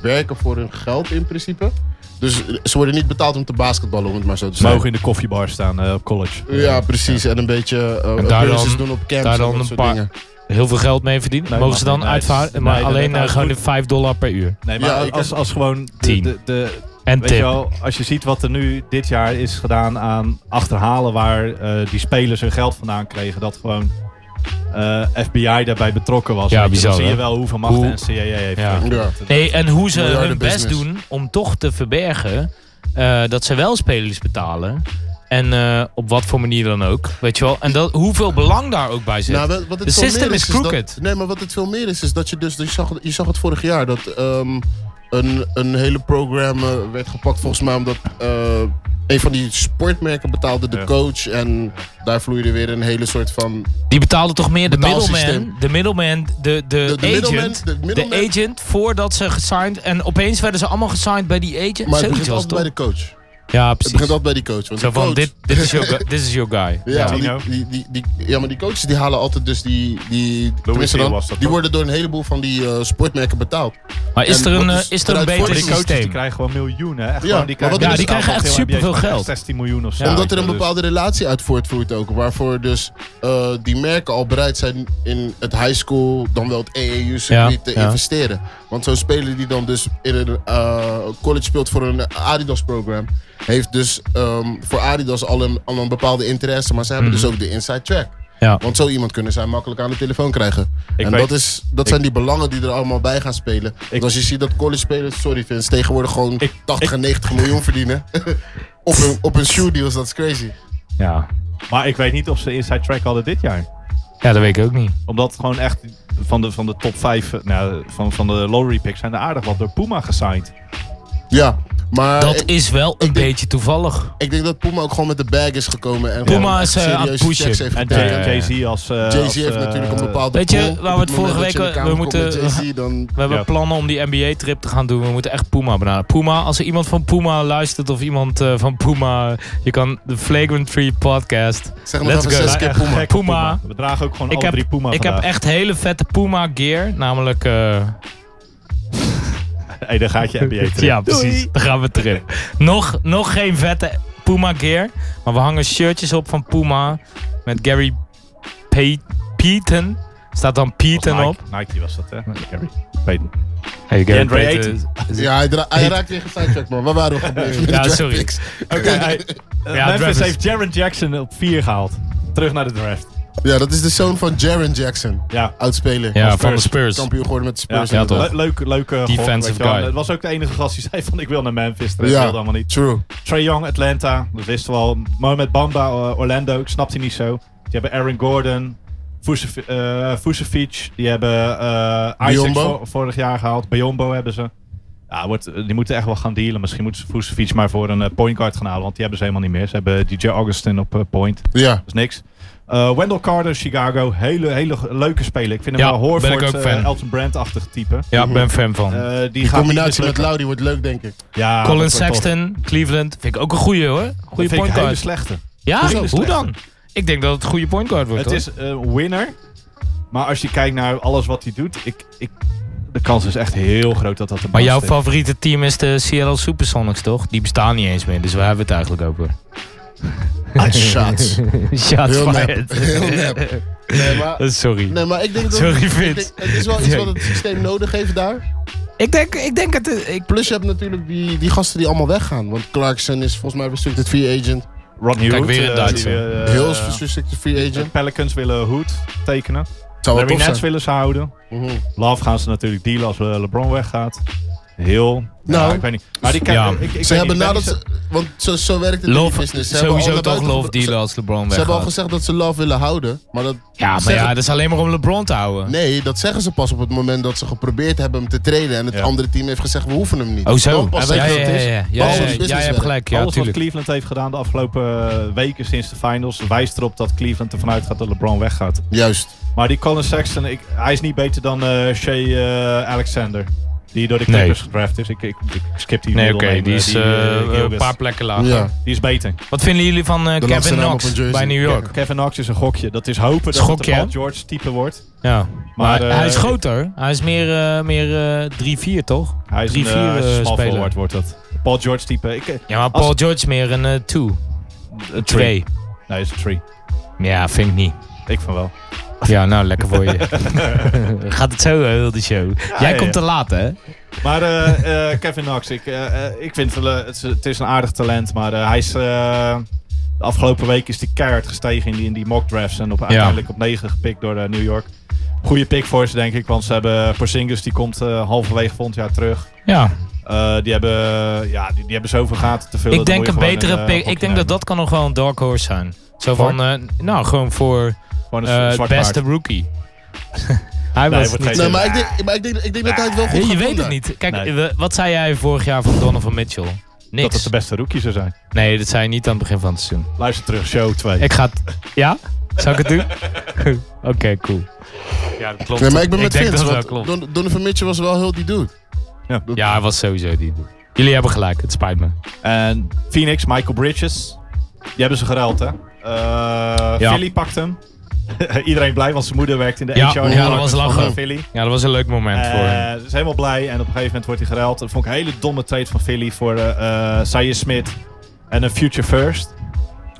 werken voor hun geld in principe. Dus eh, ze worden niet betaald om te basketballen, om het maar zo te Ze zeggen. mogen in de koffiebar staan eh, op college. Ja, precies. En een beetje eh En daar cursus dan, doen op camps. daar en dan dat een soort paar dingen. heel veel geld mee verdienen. Nee, Mogen mag ze dan niet, nee. uitvaarden? Nee, maar nee, alleen dat- eh, gewoon de dat- 5 dollar per uur. Nee, maar als, als gewoon de, Tien. de, de- En weet je tip. wel, als je ziet wat er nu dit jaar is gedaan aan achterhalen waar eh, die spelers hun geld vandaan kregen, dat gewoon eh, FBI daarbij betrokken was. Ja, Weet je, bizar, Dan zie je hè? wel hoeveel macht Hoe- de NCAA heeft. Ja. Weet je, dat- Nee, en hoe ze hun Miljardenbusiness. best doen om toch te verbergen eh, dat ze wel spelers betalen. En eh, op wat voor manier dan ook. Weet je wel? En dat, hoeveel belang daar ook bij zit. Nou, wat- wat het De veel meer system is, dat- crooked. nee, maar wat het veel meer is, is dat je dus... Je zag, je zag het vorig jaar, dat ehm, een, een hele program eh, werd gepakt volgens mij omdat... eh, een van die sportmerken betaalde de coach en daar vloeide weer een hele soort van... Die betaalde toch meer de Betaalsysteem. middleman, de middleman, de, de, de agent, middleman, de middleman. de agent voordat ze gesigned en opeens werden ze allemaal gesigned bij die agent. Maar het Zoiets begint was altijd het bij toch? de coach. Ja, precies. Het begint altijd bij die coach. Want Zo die van, coach- dit, dit is your, gu- this is your guy. Ja, maar die, die, die, die- ja, maar die coaches die halen altijd dus die... die tenminste Hill dan, was dat, die toch? worden door een heleboel van die eh, sportmerken betaald. Maar is En er een, wat eh, is er een eruit beter voortkomt- Die coaches die krijgen gewoon miljoenen. hè. Echt dus Ja, gewoon, die maar krijgen, wat het is- betaald die krijgen veel echt NBA superveel spelers, geld. 16 miljoen of zo. Omdat er een Dus- bepaalde relatie uit voortvloeit ook. Waarvoor dus eh, die merken al bereid zijn in het high school, dan wel het EEU circuit Ja, te ja. investeren. Want zo'n speler die dan dus in een eh, college speelt voor een Adidas program, heeft dus ehm, voor Adidas al een, al een bepaalde interesse. Maar ze hebben Mhm. dus ook de inside track. Ja. Want zo iemand kunnen zij makkelijk aan de telefoon krijgen. Ik en weet- dat, is, dat ik- zijn die belangen die er allemaal bij gaan spelen. Want als je ziet dat college spelers, sorry Vince, tegenwoordig gewoon 80 en 90 miljoen verdienen. op, hun, op hun shoe deals, dat is crazy. Ja. Maar ik weet niet of ze inside track hadden dit jaar. Ja, dat weet ik ook niet. Omdat gewoon echt van de, van de top 5 nou, van, van de lottery picks zijn er aardig wat door Puma gesigned. Ja, maar... Dat is wel een beetje toevallig. Ik denk dat Puma ook gewoon met de bag is gekomen. En Puma gewoon is, eh, serieuze aan het pushen. checks heeft En getekend. Jay- Jay-Z als, eh, Jay-Z als, heeft eh, natuurlijk een bepaalde Weet je, pool. waar Op we moment het vorige week... eh, dat je in de We kamer komt moeten, met Jay-Z, dan... we hebben Ja. plannen om die NBA-trip te gaan doen. We moeten echt Puma benaderen. Puma, als er iemand van Puma luistert of iemand eh, van Puma... Je kan de Flagrant Free podcast. Zeg maar Let's even go. zes keer Echt Puma. gek, Puma. We dragen ook gewoon ik alle heb, drie Puma Ik heb vandaag. echt hele vette Puma gear. Namelijk... eh, Hé, daar gaat je NBA terug. Ja, precies. Daar gaan we terug. Nog, nog geen vette Puma gear. Maar we hangen shirtjes op van Puma. Met Gary Pay- Payton. Staat dan Payton op. Nike, Nike was dat, hè? Gary Payton. Hey, Gary DeAndre Payton. Ayton. Ja, hij, dra- hij raakt weer gesidetracked, man. Waar waren we gebleven? met de Ja, draft sorry. picks? Oké, hij- eh, Memphis heeft Jaron Jackson op 4 gehaald. Terug naar de draft. Ja, dat is de zoon van Jaron Jackson. Ja. Oudspeler. Ja, van de Spurs. Kampioen geworden met de Spurs. Ja, inderdaad. Le- leuk, leuk eh, gok, Defensive weet je wel. guy. Het was ook de enige gast die zei van ik wil naar Memphis. Dat Ja, wilde allemaal niet. True. Trae Young, Atlanta. Dat wisten we al. Mohamed Bamba, eh, Orlando. Ik snapte niet zo. Die hebben Aaron Gordon. Vucev- eh, Vucevic. Die hebben eh Isaac Biyombo. vo- vorig jaar gehaald. Bayombo hebben ze. Ja, wordt, die moeten echt wel gaan dealen. Misschien moeten ze Vucevic maar voor een eh, point guard gaan halen. Want die hebben ze helemaal niet meer. Ze hebben DJ Augustin op eh, point. Ja. Dat is niks. Eh, Wendell Carter, Chicago. Hele, hele ge- leuke speler. Ik vind hem Ja, wel ben Horford, ik ook eh, fan. Elton Brand-achtig type. Ja, ik ben fan van. Eh, die Die gaat combinatie niet met mislukken. Lau die wordt leuk, denk ik. Ja, dat Colin wordt tof. Sexton, Cleveland. Vind ik ook een goeie hoor. Goeie vind ik point hele guard. slechte. Ja, Hele hoe slechte. dan? Ik denk dat het een goede point guard wordt. Het is een winner. Maar als je kijkt naar alles wat hij doet, ik, ik, de kans is echt heel groot dat dat een Maar jouw bust is. favoriete team is de Seattle Supersonics, toch? Die bestaan niet eens meer, dus waar hebben we het eigenlijk over? Ah, shots. Shots Heel nep. fired. Heel nep. Nee, maar, Sorry. nee, maar ik denk dat Sorry, ik Vince. denk- het is wel iets Nee. wat het systeem nodig heeft daar. Ik denk, ik denk het... Ik... Plus je hebt natuurlijk die, die gasten die allemaal weggaan. Want Clarkson is volgens mij restricted free agent. Rodney Kijk, Hood, weer een eh, Duitser. die, eh, Heel restricted free agent. Pelicans willen Hood tekenen. Zou wel Larry tof Nets zijn. willen ze houden. Mhm. Love gaan ze natuurlijk dealen als eh, LeBron weggaat. Heel. Nou. ja, ik weet niet. Maar die kijken. Ja. ik, ik weet Ze hebben niet, ik ben nadat niet zo- ze, want zo, zo werkt het in die Love, business. Ze hebben sowieso allebei toch ge- love ze- dealen als LeBron Ze hebben al weggaat. gezegd dat ze love willen houden. Maar dat Ja, maar zeggen- ja, dat is alleen maar om LeBron te houden. Nee, dat zeggen ze pas op het moment dat ze geprobeerd hebben hem te traden. En het Ja. andere team heeft gezegd, we hoeven hem niet. Oh, zo. Dan pas Ja, zeggen ja, dat het ja, ja, is. ja, Pas ja, als ja, business jij hebt werkt. gelijk, ja, Alles wat tuurlijk. Cleveland heeft gedaan de afgelopen eh, weken sinds de finals wijst erop dat Cleveland ervan uitgaat dat LeBron weggaat. Juist. Maar die Colin Sexton, ik, hij is niet beter dan eh Shea eh, Alexander. Die door de Nee. Clippers gedraft is. Ik, ik, ik skip die Nee, oké, middelnemer, die is eh, eh, een Gilgis. paar plekken lager. Ja. Die is beter. Wat vinden jullie van eh, laatste Kevin naam op Knox een jersey. bij New York? Kevin Knox is een gokje. Dat is hopen dat Schokje, het hè? een Paul George type wordt. Ja. Maar, Maar, eh, hij is groter. Hij is meer, eh, meer eh 3-4, toch? Hij is 3-4 een, eh, hij is een eh, small speler. forward wordt dat. Paul George type. Ik, eh, Ja, maar als- Paul George is meer een eh, 2. een twee. three. Nee, is een three. ja, vind ik niet. Ik van wel. Ja, nou, lekker voor je. Gaat het zo, eh, heel de show. Jij ja, komt ja. te laat, hè? Maar eh, eh, Kevin Knox, ik, eh, eh, ik vind het, wel, eh, het, is- het is een aardig talent. Maar eh, hij is. eh, de afgelopen week is hij keihard gestegen in die, in die mock drafts. En op, uiteindelijk op 9 gepikt door eh, New York. Goede pick voor ze, denk ik. Want ze hebben Porzingis, die komt eh, halverwege volgend jaar terug. Ja, Eh, die, hebben, ja, die, die hebben zoveel gaten te veel. ik denk een betere pick. Ik denk dat dat kan nog wel een dark horse zijn. Zo eh, Voor? van, eh, nou, gewoon voor Gewoon een eh, zwart beste paard. rookie. Hij Nee, was wordt niet geen- Nee, maar ik denk, maar ik denk, ik denk dat hij het wel goed Nee, gaat je doen weet het daar. niet. Kijk, Nee. we- wat zei jij vorig jaar van Donovan Mitchell? Dat het Niks. de beste rookie zou zijn. nee, dat zei je niet aan het begin van het seizoen. Luister terug, show 2. Ik ga het... Ja? Zou ik het doen? Oké, cool. Ja, dat klopt. Nee, maar ik ben met denk Vince. dat want dat klopt. Don- Donovan Mitchell was wel heel die dude. Ja, hij was sowieso die. Jullie hebben gelijk, het spijt me. En Phoenix, Michael Bridges. Die hebben ze geruild, hè? Eh Ja. Philly pakt hem. Iedereen blij, want zijn moeder werkt in de Ja, HR. ja, dat was van, lachen. eh, Philly. Ja, dat was een leuk moment voor hem. Eh, Ze is helemaal blij en op een gegeven moment wordt hij geruild. Dat vond ik een hele domme trade van Philly voor eh eh Saias Smith en een Future First.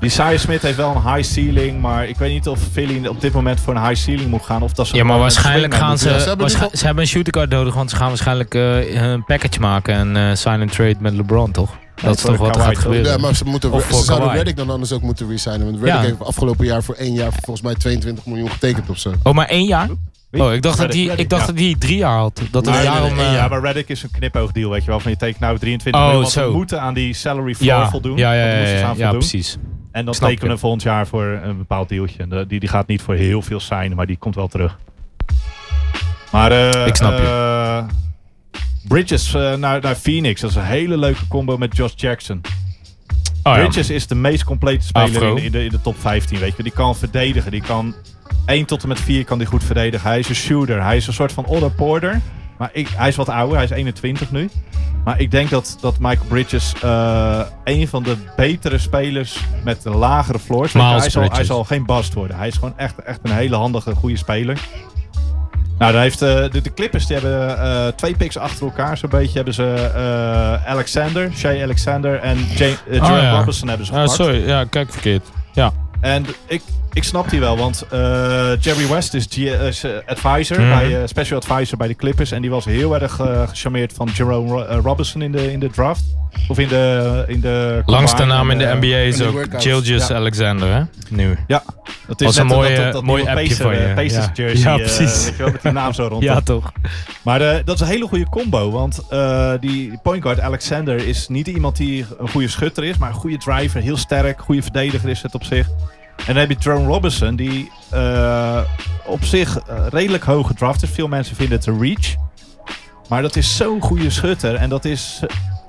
Die Saias Smith heeft wel een high ceiling, maar ik weet niet of Philly op dit moment voor een high ceiling moet gaan. Of dat ze Ja, maar gewoon een waarschijnlijk swing gaan mee ze... Ja, waarsch- ze hebben Ze hebben, nu wel- een shooting guard nodig, want ze gaan waarschijnlijk eh, een package maken en eh sign and trade met LeBron, toch? Dat is voor toch wat er Kawhi, gaat toch? gebeuren. Ja, maar ze, moeten, Of ze voor zouden Kawhi. Reddick dan anders ook moeten resignen. Want Reddick Ja. heeft afgelopen jaar voor één jaar volgens mij 22 miljoen getekend of zo. Oh, maar één jaar? Wie? Oh, ik dacht dat Reddick, hij Reddick, ik dacht ja. dat die drie jaar had. Dat Nee, het nee, nee, daarom... één eh, Ja, maar Reddick is een knipoogdeal, weet je wel. Van je tekent nou 23 Oh, miljoen, want zo. we moeten aan die salary floor ja, voldoen. ja, ja, Want we ja, moesten ja, gaan ja, voldoen. precies. En dan Snap tekenen ik. we volgend jaar voor een bepaald deeltje. En de- die, die gaat niet voor heel veel zijn, maar die komt wel terug. Maar eh, Ik snap je. eh, Bridges eh, naar, naar Phoenix, dat is een hele leuke combo met Josh Jackson. Oh, ja. Bridges is de meest complete speler Afro. in de, in, de, in de top 15, weet je. Die kan verdedigen, die kan 1 tot en met 4 kan die goed verdedigen. Hij is een shooter, hij is een soort van Otto Porter. Maar ik, hij is wat ouder, hij is 21 nu. Maar ik denk dat, dat Michael Bridges eh, een van de betere spelers met een lagere floors. Weet je, Miles hij, zal, hij Bridges. zal geen bast worden. Hij is gewoon echt, echt een hele handige, goede speler. Nou, daar heeft, eh, de, de Clippers die hebben eh, twee picks achter elkaar zo'n beetje. Hebben ze eh, Alexander, Shea Alexander en James, eh, Oh, Jerome ja. Robinson hebben ze Ah, gepakt. sorry, ja, kijk verkeerd. Ja. En ik, ik snap die wel, want eh, Jerry West is, G- is, eh, advisor, Mhm. bij, eh, special advisor bij de Clippers. En die was heel erg eh, gecharmeerd van Jerome Ro- eh, Robinson in de, in de draft. Of in de... In de Langste combine. naam in de En, eh, NBA is die ook workouts. Gilgis Ja. Alexander, hè? Nu. Ja, Dat is was een net mooie, dat, dat mooi nieuwe appje Pacers- van je. Pacers ja. Ja, jersey, eh, precies. weet je wel, met die naam zo rond. Ja, toch. Maar eh, dat is een hele goede combo, want eh, die point guard Alexander is niet iemand die een goede schutter is, maar een goede driver, heel sterk, goede verdediger is het op zich. En dan heb je Jerome Robinson, die eh, op zich eh, redelijk hoog gedraft is. Veel mensen vinden het een reach. Maar dat is zo'n goede schutter en dat is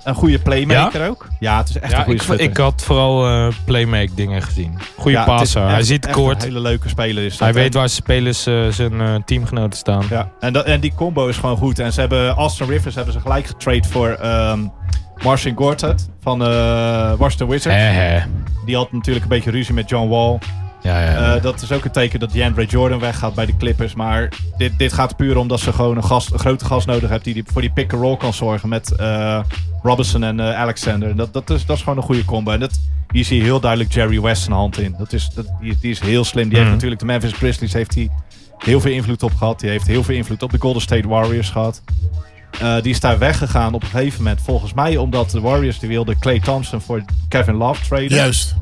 een goede playmaker Ja? ook. Ja, het is echt Ja, een goede ik, schutter. ik had vooral eh, playmaker dingen gezien. Goede Ja, het is passer. Hij echt- ziet echt kort. Een hele leuke speler is dat. Hij weet En- waar spelers eh, zijn eh, teamgenoten staan. Ja, en, dat, en die combo is gewoon goed. En ze hebben Austin Rivers hebben ze gelijk getrade voor ehm, Marcin Gortat van eh Washington Wizards. Hè, hè. Die had natuurlijk een beetje ruzie met John Wall. Ja, ja, Eh, dat is ook een teken dat DeAndre Jordan weggaat bij de Clippers. Maar dit, dit gaat puur omdat ze gewoon een, gast, een grote gast nodig hebben die, die voor die pick-and-roll kan zorgen met eh, Robinson en eh, Alexander. En Dat, dat, is, dat is gewoon een goede combo. En dat, hier zie je heel duidelijk Jerry West zijn hand in. Dat is, dat, die, die is heel slim. Die heeft Mhm. natuurlijk de Memphis Grizzlies heeft hij heel veel invloed op gehad. Die heeft heel veel invloed op de Golden State Warriors gehad. Eh, die is daar weggegaan op een gegeven moment. Volgens mij omdat de Warriors die wilden Clay Thompson voor Kevin Love traden. Juist.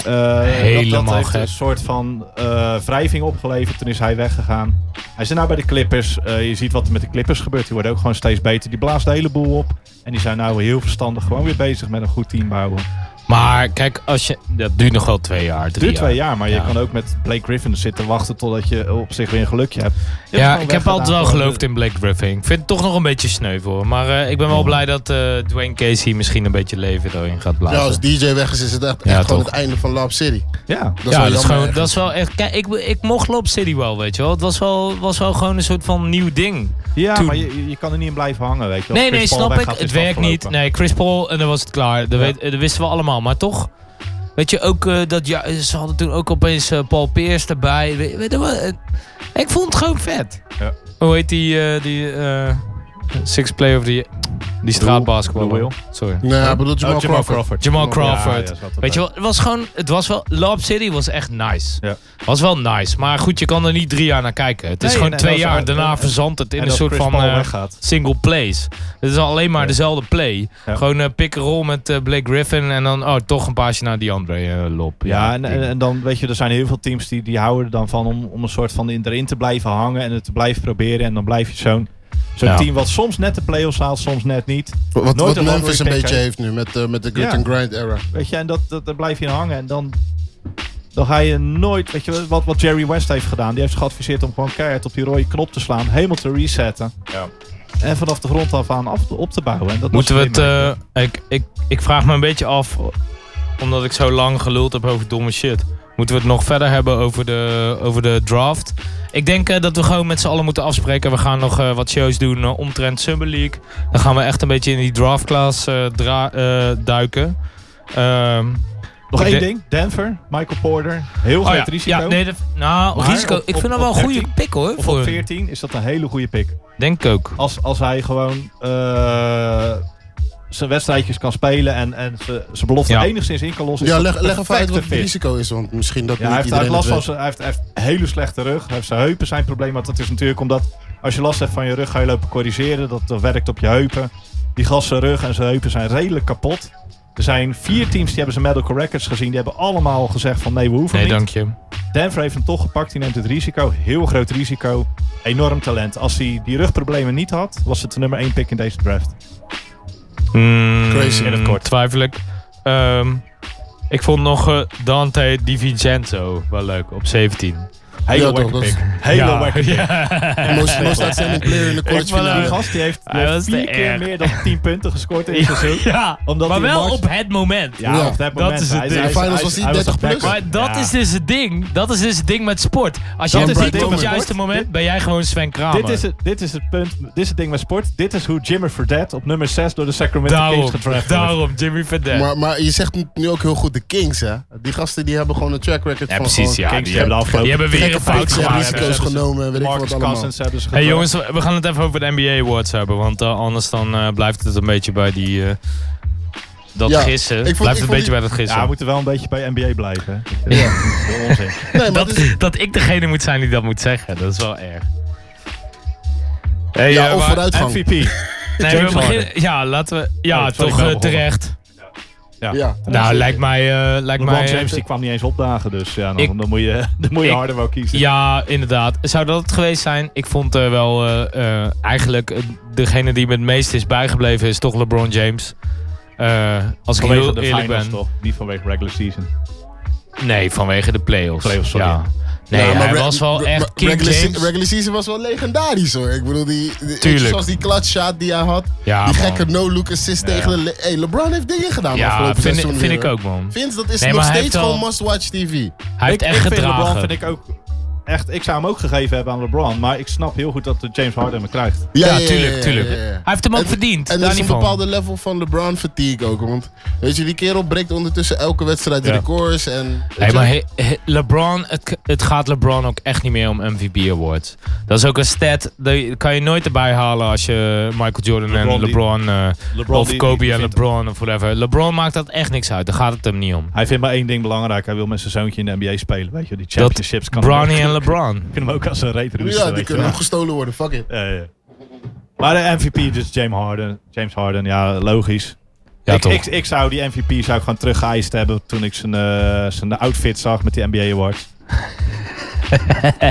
Eh, dat- dat, Helemaal heeft gek. een soort van eh, wrijving opgeleverd. Toen is hij weggegaan. Hij zit nou bij de Clippers. Eh, je ziet wat er met de Clippers gebeurt. Die worden ook gewoon steeds beter. Die blaast de hele boel op. En die zijn nou heel verstandig gewoon weer bezig met een goed team bouwen. Maar kijk, als je, dat duurt nog wel twee jaar. Het Drie duurt twee jaar, maar Ja. je kan ook met Blake Griffin zitten wachten totdat je op zich weer een gelukje hebt. Je hebt Ja, gewoon ik heb weggedaan altijd wel voor de- geloofd in Blake Griffin. Ik vind het toch nog een beetje sneuvel. hoor. Maar eh, ik ben wel blij dat eh, Dwayne Casey misschien een beetje leven erin gaat Ja, blazen. als DJ weg is, is het echt, Ja, echt gewoon toch. het einde van Lab City. wel Ja, ja, dat is, jammer gewoon, ergens. dat is wel echt. Kijk, ik, ik mocht Lob City wel, weet je wel. Het was wel, was wel gewoon een soort van nieuw ding. Ja, Toen- maar je, je kan er niet in blijven hangen, weet je. wel. Nee, Chris nee, Paul snap ik. weggaat, is Het werkt afgelopen. niet. Nee, Chris Paul en dan was het klaar. Dat, weet, dat wisten we allemaal. Maar toch, weet je, ook eh, dat ja, ze hadden toen ook opeens eh, Paul Pierce erbij. We- weet je wel, eh, ik vond het gewoon vet. Ja. Hoe heet die, eh, die eh, six play of die, die straatbasketbal? Sorry. Nee, hij bedoelt Jamal Oh, Crawford. Jamal Jamal- ja, Crawford. ja, zat erbij. weet je wel, het was gewoon, het was wel, Lob City was echt nice. Was wel nice, maar goed, je kan er niet drie jaar naar kijken. Het is Nee, gewoon en- en twee als- jaar, en- daarna en- verzandt het in en een als soort Chris van Paul eh, weggaat. single plays. Het is alleen maar dezelfde play. Gewoon eh, pick and roll met eh, Blake Griffin en dan oh, toch een paasje naar die andere eh, lop. Ja, en, en- en dan weet je, er zijn heel veel teams die, die houden er dan van om, om een soort van in, erin te blijven hangen en het te blijven proberen. En dan blijf je zo'n zo'n Ja. team wat soms net de play-offs haalt, soms net niet. Wat, Nooit wat een Memphis een lottery pick beetje heeft nu met, eh, met de Grit Ja. and Grind era. Weet je, en dat, dat, daar blijf je in hangen. En dan, dan ga je nooit, weet je, wat, wat Jerry West heeft gedaan. Die heeft geadviseerd om gewoon keihard op die rode knop te slaan, helemaal te resetten. En vanaf de grond af aan af, op te bouwen. En dat Moeten we was het. eh, ik, ik, ik vraag me een beetje af, omdat ik zo lang geluld heb over domme shit. Moeten we het nog verder hebben over de, over de draft? Ik denk eh, dat we gewoon met z'n allen moeten afspreken. We gaan nog eh, wat shows doen eh, omtrent Summer League. Dan gaan we echt een beetje in die draftclass eh, dra- eh, duiken. Ehm, Nog ik één denk- ding, Denver, Michael Porter, heel Oh groot ja, risico. ja, nee, dat- nou, risico, ik vind dat wel een goede pick, hoor, Of voor op hun. 14 is dat een hele goede pick. Denk ik ook. Als, als hij gewoon eh, zijn wedstrijdjes kan spelen en, en ze- zijn belofte Ja. enigszins in kan lossen. Dus is Ja, dat leg, een leg even uit perfecte wat het fit. risico is, want misschien dat Ja, hij niet heeft, hij iedereen heeft het last van weet. zijn, hij heeft, hij heeft een hele slechte rug. Hij heeft zijn heupen zijn probleem. Want dat is natuurlijk omdat als je last hebt van je rug, ga je lopen corrigeren. Dat, dat werkt op je heupen. Die gast zijn rug en zijn heupen zijn redelijk kapot. Er zijn vier teams die hebben zijn medical records gezien. Die hebben allemaal gezegd van nee, we hoeven Nee, niet. dank je. Denver heeft hem toch gepakt. Die neemt het risico. Heel groot risico. Enorm talent. Als hij die rugproblemen niet had, was het de nummer één pick in deze draft. Mm, Crazy. In het kort. Twijfel ik. Ehm, ik vond nog eh, Dante DiVincenzo wel leuk op 17. Hele Ja, toch, wacky dat is- pick. Hele wacky pick. Most- most outstanding player in de Ik vond quarterfinale. hem- Die gast die heeft- die Hij heeft was te vier keer erg. meer dan 10 punten gescoord in Ja, zijn seizoen. Ja, Omdat maar hij wel Mars- op het moment. Ja, op dat moment. is het Hij- ding. hij- In de finals hij- was hij hij was 30 plus. Maar dat Ja. is dus het ding. Dat is dus het ding met sport. Als je Dat het is het ziet ding op het met juiste sport. moment, ben jij gewoon Sven Kramer. Dit is, het, dit is het punt, dit is het ding met sport. Dit is hoe Jimmy Fredette op nummer 6 door de Sacramento Kings gedraft wordt. Jimmy Fredette. Maar, maar je zegt nu ook heel goed de Kings, hè? Die gasten die hebben gewoon een track record van Ja, precies, gewoon- ja, die hebben de afgelopen- Die hebben weer gekke een fout picks en gemaakt. risico's Hebben ze- genomen en weet ik Marcus wat allemaal. Cousins hebben ze Hey gedraft. jongens, we we gaan het even over de NBA Awards hebben. Want eh, anders dan eh, blijft het een beetje bij die... eh, dat Ja, gissen. ik vond- ik blijft het een vond beetje die- bij dat gissen. Ja, we moeten wel een beetje bij NBA blijven. hè. Dat is onzin. dat, dat ik degene moet zijn die dat moet zeggen, dat is wel erg. Ja, eh, of maar- vooruitgang. MVP. Nee, James we beginnen, Harden. ja, laten we. Ja, Oh, sorry, ik toch ben eh, begonnen. terecht. Ja. Nou, lijkt mij... eh, lijkt LeBron mij James die kwam niet eens opdagen, dus ja, dan, Ik- dan moet je, dan moet je Ik- harder wel kiezen. Ja, inderdaad. Zou dat het geweest zijn? Ik vond eh, wel eh, eh, eigenlijk eh, degene die me het meest is bijgebleven is toch LeBron James. Eh, als ik Vanwege heel de eerlijk finals ben. toch? Niet vanwege regular season. Nee, vanwege de playoffs. Playoffs, sorry. Ja. Nee, Ja, maar hij re- was wel re- echt maar King regular, se- James. regular season was wel legendarisch hoor. Ik bedoel, die, die- Tuurlijk. zoals die clutch shot die hij had. Ja, die man. gekke no-look assist Ja. tegen de... Le- hey, LeBron heeft dingen gedaan Ja, afgelopen vind- seizoen vind weer, ik hoor. ook, man. Vince, dat is Nee, nog maar hij steeds heeft wel- gewoon must-watch TV. Hij heeft echt ik gedragen. Vind LeBron vind ik ook echt. Ik zou hem ook gegeven hebben aan LeBron, maar ik snap heel goed dat de James Harden hem krijgt. Ja, ja, ja, ja, ja, ja. ook En- verdiend, En er daar is een niet van. bepaalde level van LeBron fatigue ook. Want weet je, die kerel breekt ondertussen elke wedstrijd Ja. records. En, weet Nee, je- maar he- he- LeBron, het, k- het gaat LeBron ook echt niet meer om MVP awards. Dat is ook een stat, die kan je nooit erbij halen als je Michael Jordan LeBron en die- LeBron, eh, LeBron of die- Kobe die en vindt- LeBron of whatever. LeBron maakt dat echt niks uit, daar gaat het hem niet om. Hij vindt maar één ding belangrijk. Hij wil met zijn zoontje in de NBA spelen, weet je. Die Dat championships kan. Bronny en LeBron. kunnen hem ook als een reet roesten, ja, weet die je kunnen wel. ook gestolen worden. Fuck it. Ja, ja. Maar de MVP dus James Harden. James Harden, ja, logisch. Ja, ik, toch. ik, ik zou die MVP zou ik gewoon teruggeëist hebben toen ik zijn, eh, zijn outfit zag met die NBA Awards. Jij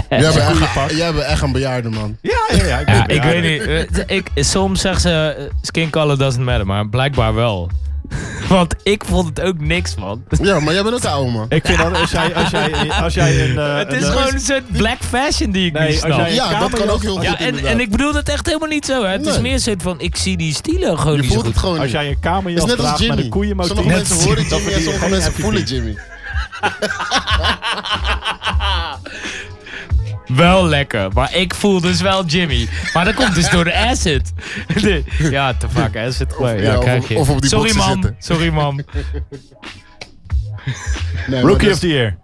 bent echt- Jij bent echt een bejaarde man. Ja, ja, ja. Ja, ik weet niet, eh, ik, soms zeggen ze eh, skin color doesn't matter, maar blijkbaar wel. Want ik vond het ook niks, man. Ja, maar jij bent ook een oude man. Ik vind dat als jij, als jij, als jij een... eh, Het is een- gewoon een soort black fashion die ik Nee, niet als snap. jij een Ja, dat kan kamerjas- ook heel Ja, goed, en, inderdaad. en ik bedoel dat echt helemaal niet zo. Hè. Het is Nee. meer een soort van, ik zie die stilo gewoon niet zo goed. Als jij een kamerjas Het is net als draagt met een Jimmy. koeienmotief... Sommige mensen horen Jimmy en sommige mensen voelen Jimmy. Jimmy. Wel lekker, maar ik voel dus wel Jimmy. Maar dat komt dus door de acid. De- ja, te vaak acid. Ja, ja, of- krijg je. of op die Sorry boksen mam, zitten. sorry mam. Nee, maar Rookie dat- of the Year.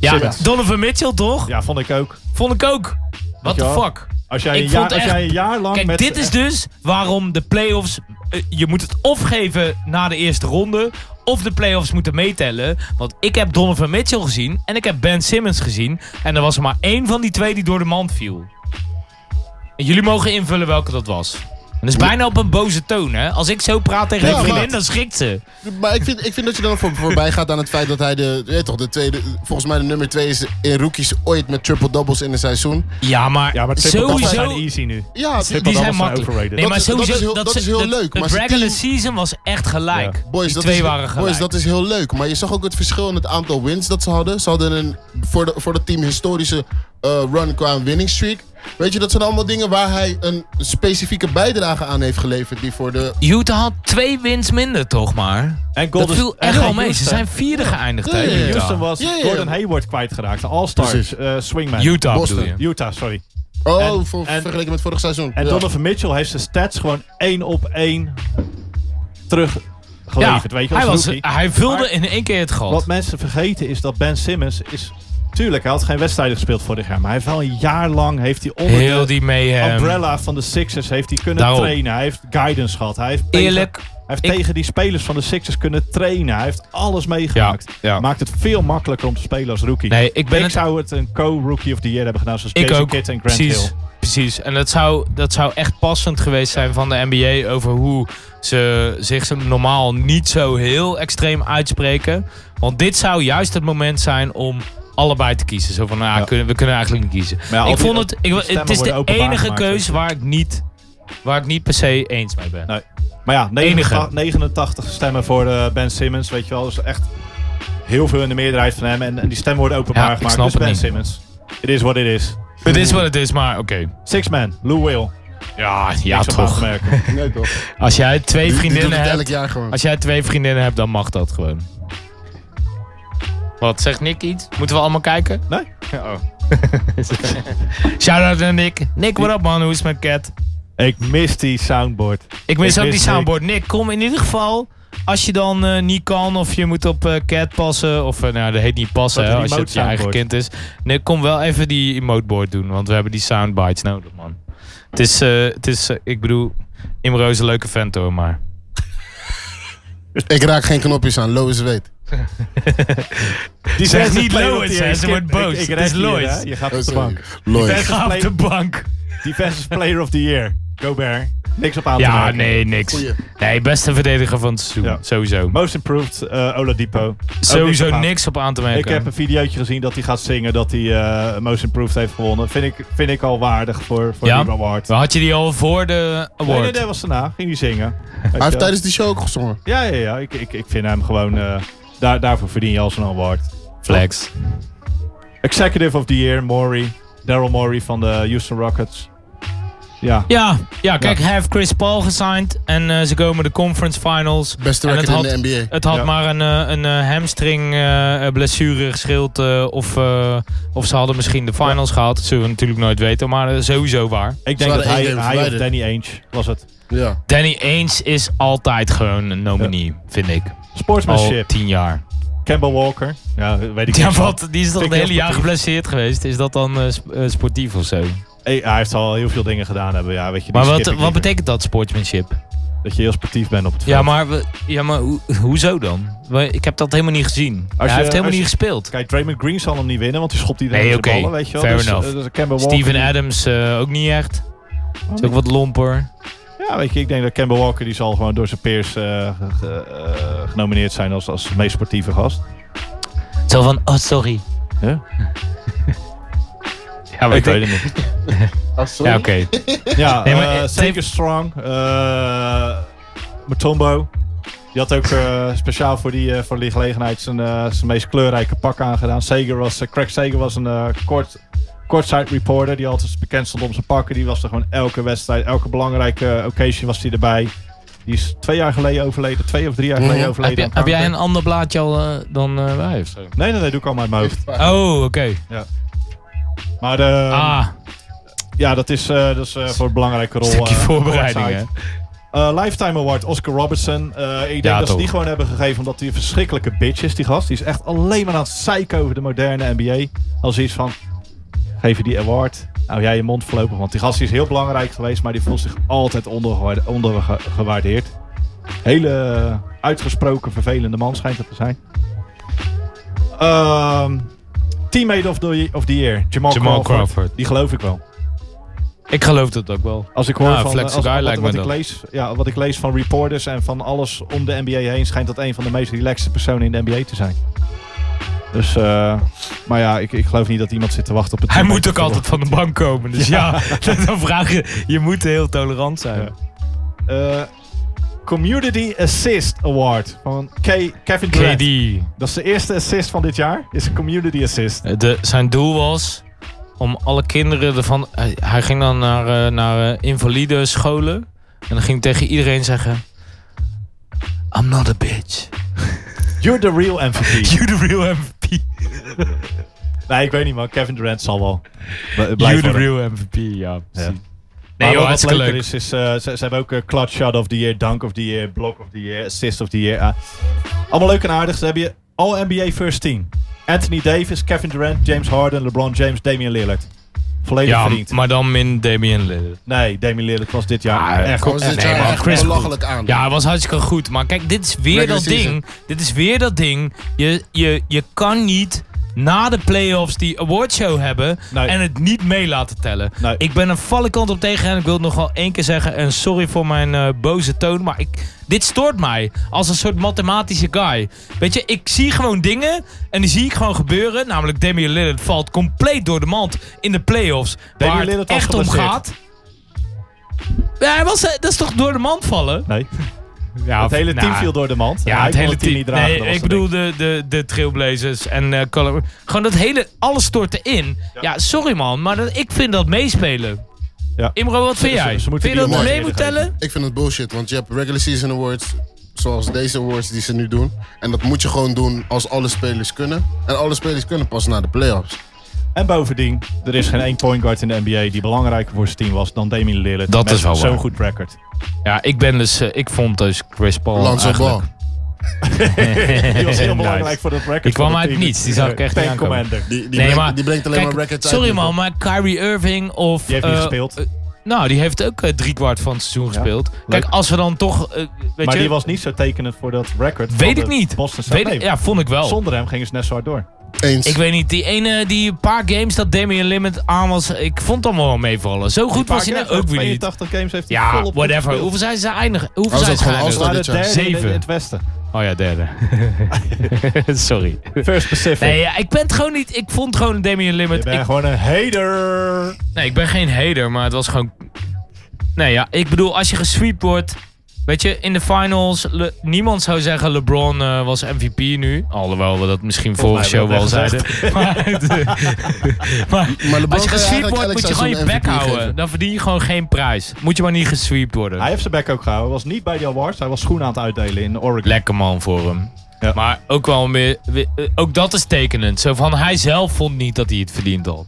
Ja, Simmons. Donovan Mitchell toch? Ja, vond ik ook. Vond ik ook. What je the wel? fuck? Als jij Ik een jaar- vond als jij een jaar lang Kijk, met- dit is dus waarom de play-offs... eh, je moet het of geven na de eerste ronde... of de play-offs moeten meetellen. Want ik heb Donovan Mitchell gezien... en ik heb Ben Simmons gezien... en er was er maar één van die twee die door de mand viel. En jullie mogen invullen welke dat was. En dat is bijna op een boze toon, hè? Als ik zo praat tegen Ja, een vriendin, maar- dan schrikt ze. Maar ik vind, ik vind dat je dan voor, voorbij gaat aan het feit dat hij de, je weet toch, de tweede, volgens mij de nummer twee is in rookies ooit met triple doubles in een seizoen. Ja, maar, Ja, maar sowieso... sowieso... zijn easy nu. Ja, Triple die zijn doubles makkelijk. overrated. Nee, Dat maar is- dat sowieso, is heel- dat is heel het- leuk, Het maar ze regular season was echt gelijk. Boys, die dat twee is, waren gelijk. Boys, dat is heel leuk. Maar je zag ook het verschil in het aantal wins dat ze hadden. Ze hadden een, voor, de, voor dat team historische eh, run qua winning streak. Weet je, dat zijn allemaal dingen waar hij een specifieke bijdrage aan heeft geleverd. Die voor de... Utah had twee wins minder, toch maar. En dat Golden- viel en echt wel mee. Ze Houston. zijn vierde geëindigd, hè, Ja, Utah. Eh, Houston was Ja, ja, ja. Gordon Hayward kwijtgeraakt. De All-Stars, Precies. eh, swingman. Utah Boston. bedoel je. Utah, sorry. Oh, En- voor, en- vergeleken met vorig seizoen. En Ja. Donovan Mitchell heeft zijn stats gewoon één op één Ja, teruggeleverd. weet je, als hij, was, rookie. hij vulde Maar in één keer het gat. Wat mensen vergeten is dat Ben Simmons is... Tuurlijk, hij had geen wedstrijden gespeeld vorig jaar. Maar hij heeft wel een jaar lang heeft hij onder Heel de die mayhem. umbrella van de Sixers heeft hij kunnen Daarom. trainen. Hij heeft guidance gehad. Hij heeft tegen- Eerlijk, hij heeft tegen die spelers van de Sixers kunnen trainen. Hij heeft alles meegemaakt. ja. Maakt het veel makkelijker om te spelen als rookie. Nee, ik ben het- zou het een co-rookie of the year hebben gedaan. Zoals Ik Jason ook. Kidd en Grant precies, Hill. precies. En dat zou, dat zou echt passend geweest zijn van de NBA over hoe ze zich zo- normaal niet zo heel extreem uitspreken. Want dit zou juist het moment zijn om allebei te kiezen. Zo van, nou, ja, kunnen, we kunnen eigenlijk niet kiezen. ja, al ik die- vond al het, die ik, het stemmen is de worden openbaar enige gemaakt, weet keuze je. waar ik, niet, waar ik niet per se eens mee ben. Nee. Maar ja, Enige. 89, 89 stemmen voor eh, Ben Simmons, weet je wel. Dat is echt heel veel in de meerderheid van hem. En, en die stemmen worden openbaar Ja, ik gemaakt. snap dus het Ben niet. Simmons. It is what it is. Het is wat het is, maar oké. Six man, Lou Will. Ja, ja Niks op aan te toch. merken. Nee, toch? Als jij twee Die- die doet vriendinnen het hebt, elk jaar gewoon. als jij twee vriendinnen hebt, dan mag dat gewoon. Wat zegt Nick iets? Moeten we allemaal kijken? Nee. Oh. Shout out naar Nick. Nick, what up man? Hoe is mijn cat? Ik mis die soundboard. Ik mis ook die Nick. soundboard. Nick, kom in ieder geval. Als je dan eh, niet kan of je moet op eh, cat passen. Of eh, nou, dat heet niet passen Dat hè, er als het emote je eigen kind soundboard. is. Nick, kom wel even die emoteboard doen. Want we hebben die soundbites nodig man. Het is, eh, het is eh, ik bedoel, Imro is een leuke vent hoor, maar... Ik raak geen knopjes aan, Lois weet. Die Zeg versus niet player Lois, of the hè, year ze skip. wordt boos. Ik- ik Het red is hier, Lois. hè. Je gaat Oh, op de sorry. bank. Lois. Defensive Ga op play- de bank. Defensive player of the year. Gobert. Niks op aan te ja, merken. nee, niks. Goeie. Nee, beste verdediger van het seizoen. Sowieso. Most improved eh Oladipo. Ook Sowieso niks op aan te merken. Ik heb een videootje gezien dat hij gaat zingen dat hij eh, Most Improved heeft gewonnen. Vind ik, vind ik al waardig voor, voor Ja? die award. Maar had je die al voor de award? Nee, nee, dat was daarna. Ging hij zingen. Hij heeft tijdens die show ook gezongen. Ja, ja, ja. Ik, ik, ik vind hem gewoon... eh, daar, daarvoor verdien je al zo'n award. Flex. Executive of the Year, Maury. Daryl Morey van de Houston Rockets. Ja. Ja, ja kijk, Ja. hij heeft Chris Paul gesigned en eh, ze komen de conference finals. Beste En het record in had- de NBA. Het had Ja. maar een, eh, een eh, hamstring eh, eh, blessure geschild eh, of, eh, of ze hadden misschien de finals gehaald. Dat zullen we natuurlijk nooit weten, maar eh, sowieso waar. Ik denk dat hij, hij of Danny Ainge was het. Ja. Danny Ainge is altijd gewoon een nominee, vind ik. Sportsmanship. Al tien jaar. Campbell Walker. Ja, weet ik Ja, niet. wat? Die is toch Vind het ik hele heel jaar sportief. geblesseerd geweest? Is dat dan eh, sp- eh, sportief of zo? Hey, hij heeft al heel veel dingen gedaan hebben. Ja, weet je, die Maar wat, skip ik wat liever. betekent dat, sportsmanship? Dat je heel sportief bent op het Ja, maar, we- ja, maar hoe- hoezo dan? We- Ik heb dat helemaal niet gezien. Als hij je- heeft helemaal als niet je- gespeeld. Kijk, Draymond Green zal hem niet winnen, want die schopt iedereen Nee, in oké. de ballen, weet je wel. Fair dus, enough. eh, dus Kemba Walker, Steven die- Adams eh, ook niet echt. Is ook wat lomper. Ja, weet je, ik denk dat Kemba Walker, die zal gewoon door zijn peers eh, ge- eh, genomineerd zijn als, als meest sportieve gast. Zo van, oh sorry. Ja? Ja, maar ik ik weet denk- het niet. Ah, sorry. Ja, oké. Ja, Nee, nee, maar, maar, eh, Strong. eh Matombo. Die had ook eh, speciaal voor die, eh, voor die gelegenheid zijn, eh, zijn meest kleurrijke pak aangedaan. Sager was, eh, Craig Sager was een eh kort, kortside reporter. Die altijd bekend stond om zijn pakken. Die was er gewoon elke wedstrijd, elke belangrijke eh, occasion was hij erbij. Die is twee jaar geleden overleden. Twee of drie jaar geleden Mhm. Heb, overleden. je- aan heb jij een kanker. ander blaadje al eh, dan eh, wij of zo? Nee, nee, nee. Doe ik allemaal uit mijn hoofd. Oh, oké. Ja. Maar eh, Ah. ja, dat is, eh, dat is eh, voor een belangrijke rol. Stukje eh, voorbereiding, outside. Eh, Lifetime Award, Oscar Robertson. Eh, ik denk Ja, dat ze toch. die gewoon hebben gegeven omdat hij een verschrikkelijke bitch is, die gast. Die is echt alleen maar aan het zeiken over de moderne NBA. Als iets van, geef je die award, hou jij je mond voorlopig. Want die gast die is heel belangrijk geweest, maar die voelt zich altijd ondergewaarde- ondergewaardeerd. Hele eh, uitgesproken vervelende man schijnt het te zijn. Ehm, teammate of the, of the Year, Jamal, Jamal Crawford. Crawford. Die geloof ik wel. Ik geloof dat ook wel. Als ik hoor ja, van Ah, eh, als, Flex the guy wat, lijkt wat me ik dat. lees, ja, wat ik lees van reporters en van alles om de NBA heen, schijnt dat een van de meest relaxte personen in de NBA te zijn. Dus, eh, maar ja, ik, ik geloof niet dat iemand zit te wachten op het. Hij team. moet ook altijd van de bank komen. Dus ja, dan vraag je, je moet heel tolerant zijn. Eh, Community Assist Award van K Kevin KD. Durant. Dat is de eerste assist van dit jaar. Is een Community Assist. De, zijn doel was om alle kinderen ervan. Hij, hij ging dan naar, eh, naar eh, invalide scholen. En dan ging hij tegen iedereen zeggen: I'm not a bitch. You're the real MVP. You're the real MVP. nee, ik weet niet man. Kevin Durant zal wel. Blijf You're the worden. real MVP, ja. Ja. precies. Maar Nee, joh, wat- wat hartstikke leuker leuk. is, is eh, ze, ze hebben ook eh, clutch shot of the year, dunk of the year, block of the year, assist of the year. Ah, allemaal leuk en aardig. Ze hebben je all NBA first team. Anthony Davis, Kevin Durant, James Harden, LeBron James, Damian Lillard. Volledig Ja, verdiend. maar dan min Damian Lillard. Nee, Damian Lillard was dit jaar echt Kom, echt- nee, maar Chris- belachelijk aan. Ja, hij was hartstikke goed. Maar kijk, dit is weer Regular dat season. ding. Dit is weer dat ding. Je, je, je kan niet na de playoffs die awardshow hebben en het niet mee laten tellen. Ik ben een valle kant op tegen en ik wil het nog wel één keer zeggen. En sorry voor mijn eh, boze toon, maar ik, dit stoort mij als een soort mathematische guy. Weet je, ik zie gewoon dingen en die zie ik gewoon gebeuren. Namelijk Damian Lillard valt compleet door de mand in de playoffs. Damian waar Lillard het was echt om geblesseerd. gaat. Ja, hij was, eh, dat is toch door de mand vallen? Nee. Ja, het of- hele team nou, viel door de mand. En Ja, hij het kon hele team. niet dragen. nee, dat was ik het bedoel de, de, de Trailblazers en eh Color- Gewoon dat hele, alles stortte in. Ja, sorry man, maar dat, ik vind dat meespelen. Ja. Imro, wat vind Ze- jij? ze- ze vind moeten je die dat award mee moet eerder tellen? geven. Ik vind het bullshit, want je hebt regular season awards, zoals deze awards die ze nu doen. En dat moet je gewoon doen als alle spelers kunnen. En alle spelers kunnen pas na de playoffs. En bovendien, er is geen één point guard in de NBA die belangrijker voor zijn team was dan Damian Lillard. Dat Met is wel waar. Zo'n goed record. Ja, ik ben dus, eh, ik vond dus Chris Paul Lonzo eigenlijk... Die was heel Nice. belangrijk voor dat record. Die kwam van het uit team. niets, die zag ik echt niet Tank aankomen. Commander. Nee, maar- kijk, Sorry man, maar Kyrie Irving of... Die heeft niet eh, gespeeld. eh, nou, die heeft ook eh, driekwart van het seizoen gespeeld. Kijk, als we dan toch... eh, weet maar je, die was niet zo tekenend voor dat record. Weet van ik de niet. Boston Weet ik- ja, oh. vond ik wel. Zonder hem gingen ze net zo hard door. Eens. Ik weet niet, die ene, die paar games dat Damian Limit aan was, ik vond hem wel meevallen. Zo goed was hij nou ook weer niet. 82 games heeft hij Ja, volop whatever. gespeeld. Hoeveel zijn ze eindigen? Hoeveel Oh, zijn is ze dat gewoon geëindigd? All-Star dit jaar? Derde in Zeven. het westen. Oh ja, derde. Sorry. First Pacific. Nee, ja, ik ben het gewoon niet. Ik vond gewoon Damian Limit. ben ik, gewoon een hater. Nee, ik ben geen hater, maar het was gewoon. Nee, ja, ik bedoel, als je gesweept wordt. Weet je, in de finals, Le- niemand zou zeggen LeBron eh, was MVP nu. Alhoewel we dat misschien vorige Volgens mij show wel hebben we dat zeiden. echt Maar, maar LeBron als je zou gesweept eigenlijk wordt, elk moet je seizoen gewoon je bek MVP houden. geven. Dan verdien je gewoon geen prijs. Moet je maar niet gesweept worden. Hij heeft zijn bek ook gehouden. Was niet bij de awards. Hij was schoenen aan het uitdelen in Oregon. Lekker man voor hem. Maar ook wel meer, weer- eh, ook dat is tekenend. Zo van hij zelf vond niet dat hij het verdiend had.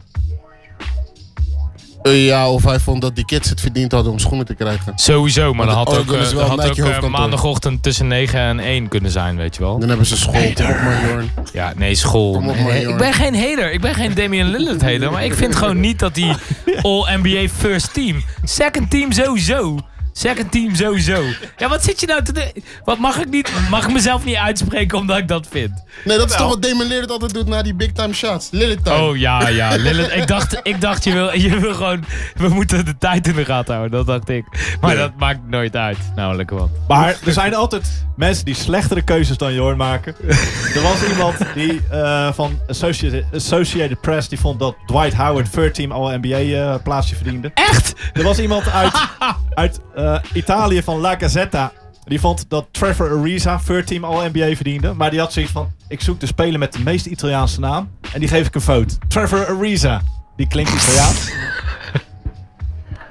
Eh, ja, of hij vond dat die kids het verdiend hadden om schoenen te krijgen. Sowieso, maar Want dan had ook, Oregon eh, is wel dan had Nike ook eh, hoofdkantoor. maandagochtend tussen 9 en 1 kunnen zijn, weet je wel. Dan hebben ze school. Kom op, maar, Jorn. Ja, nee, school. Kom op, Nee, maar, ik Jorn. ben geen hater. Ik ben geen Damian Lillard hater. Maar ik vind gewoon niet dat die All-NBA first team. Second team sowieso. Second team sowieso. Ja, wat zit je nou te... de- Wat mag ik niet... Mag ik mezelf niet uitspreken omdat ik dat vind? Nee, dat is toch Wel. wat Damon Lillard altijd doet na die big time shots. Lillard time. Oh ja, ja. Lillard, ik dacht, ik dacht je, wil, je wil gewoon. We moeten de tijd in de gaten houden, dat dacht ik. Maar dat maakt nooit uit, namelijk wat. Maar er zijn altijd mensen die slechtere keuzes dan Jorn maken. er was iemand die eh, van Associated, Associated Press die vond dat Dwight Howard third team all NBA eh, plaatsje verdiende. Echt? Er was iemand uit, uit eh, Italië van La Gazzetta. Die vond dat Trevor Ariza third team all NBA verdiende. Maar die had zoiets van: ik zoek de speler met de meest Italiaanse naam en die geef ik een vote. Trevor Ariza. Die klinkt Italiaans.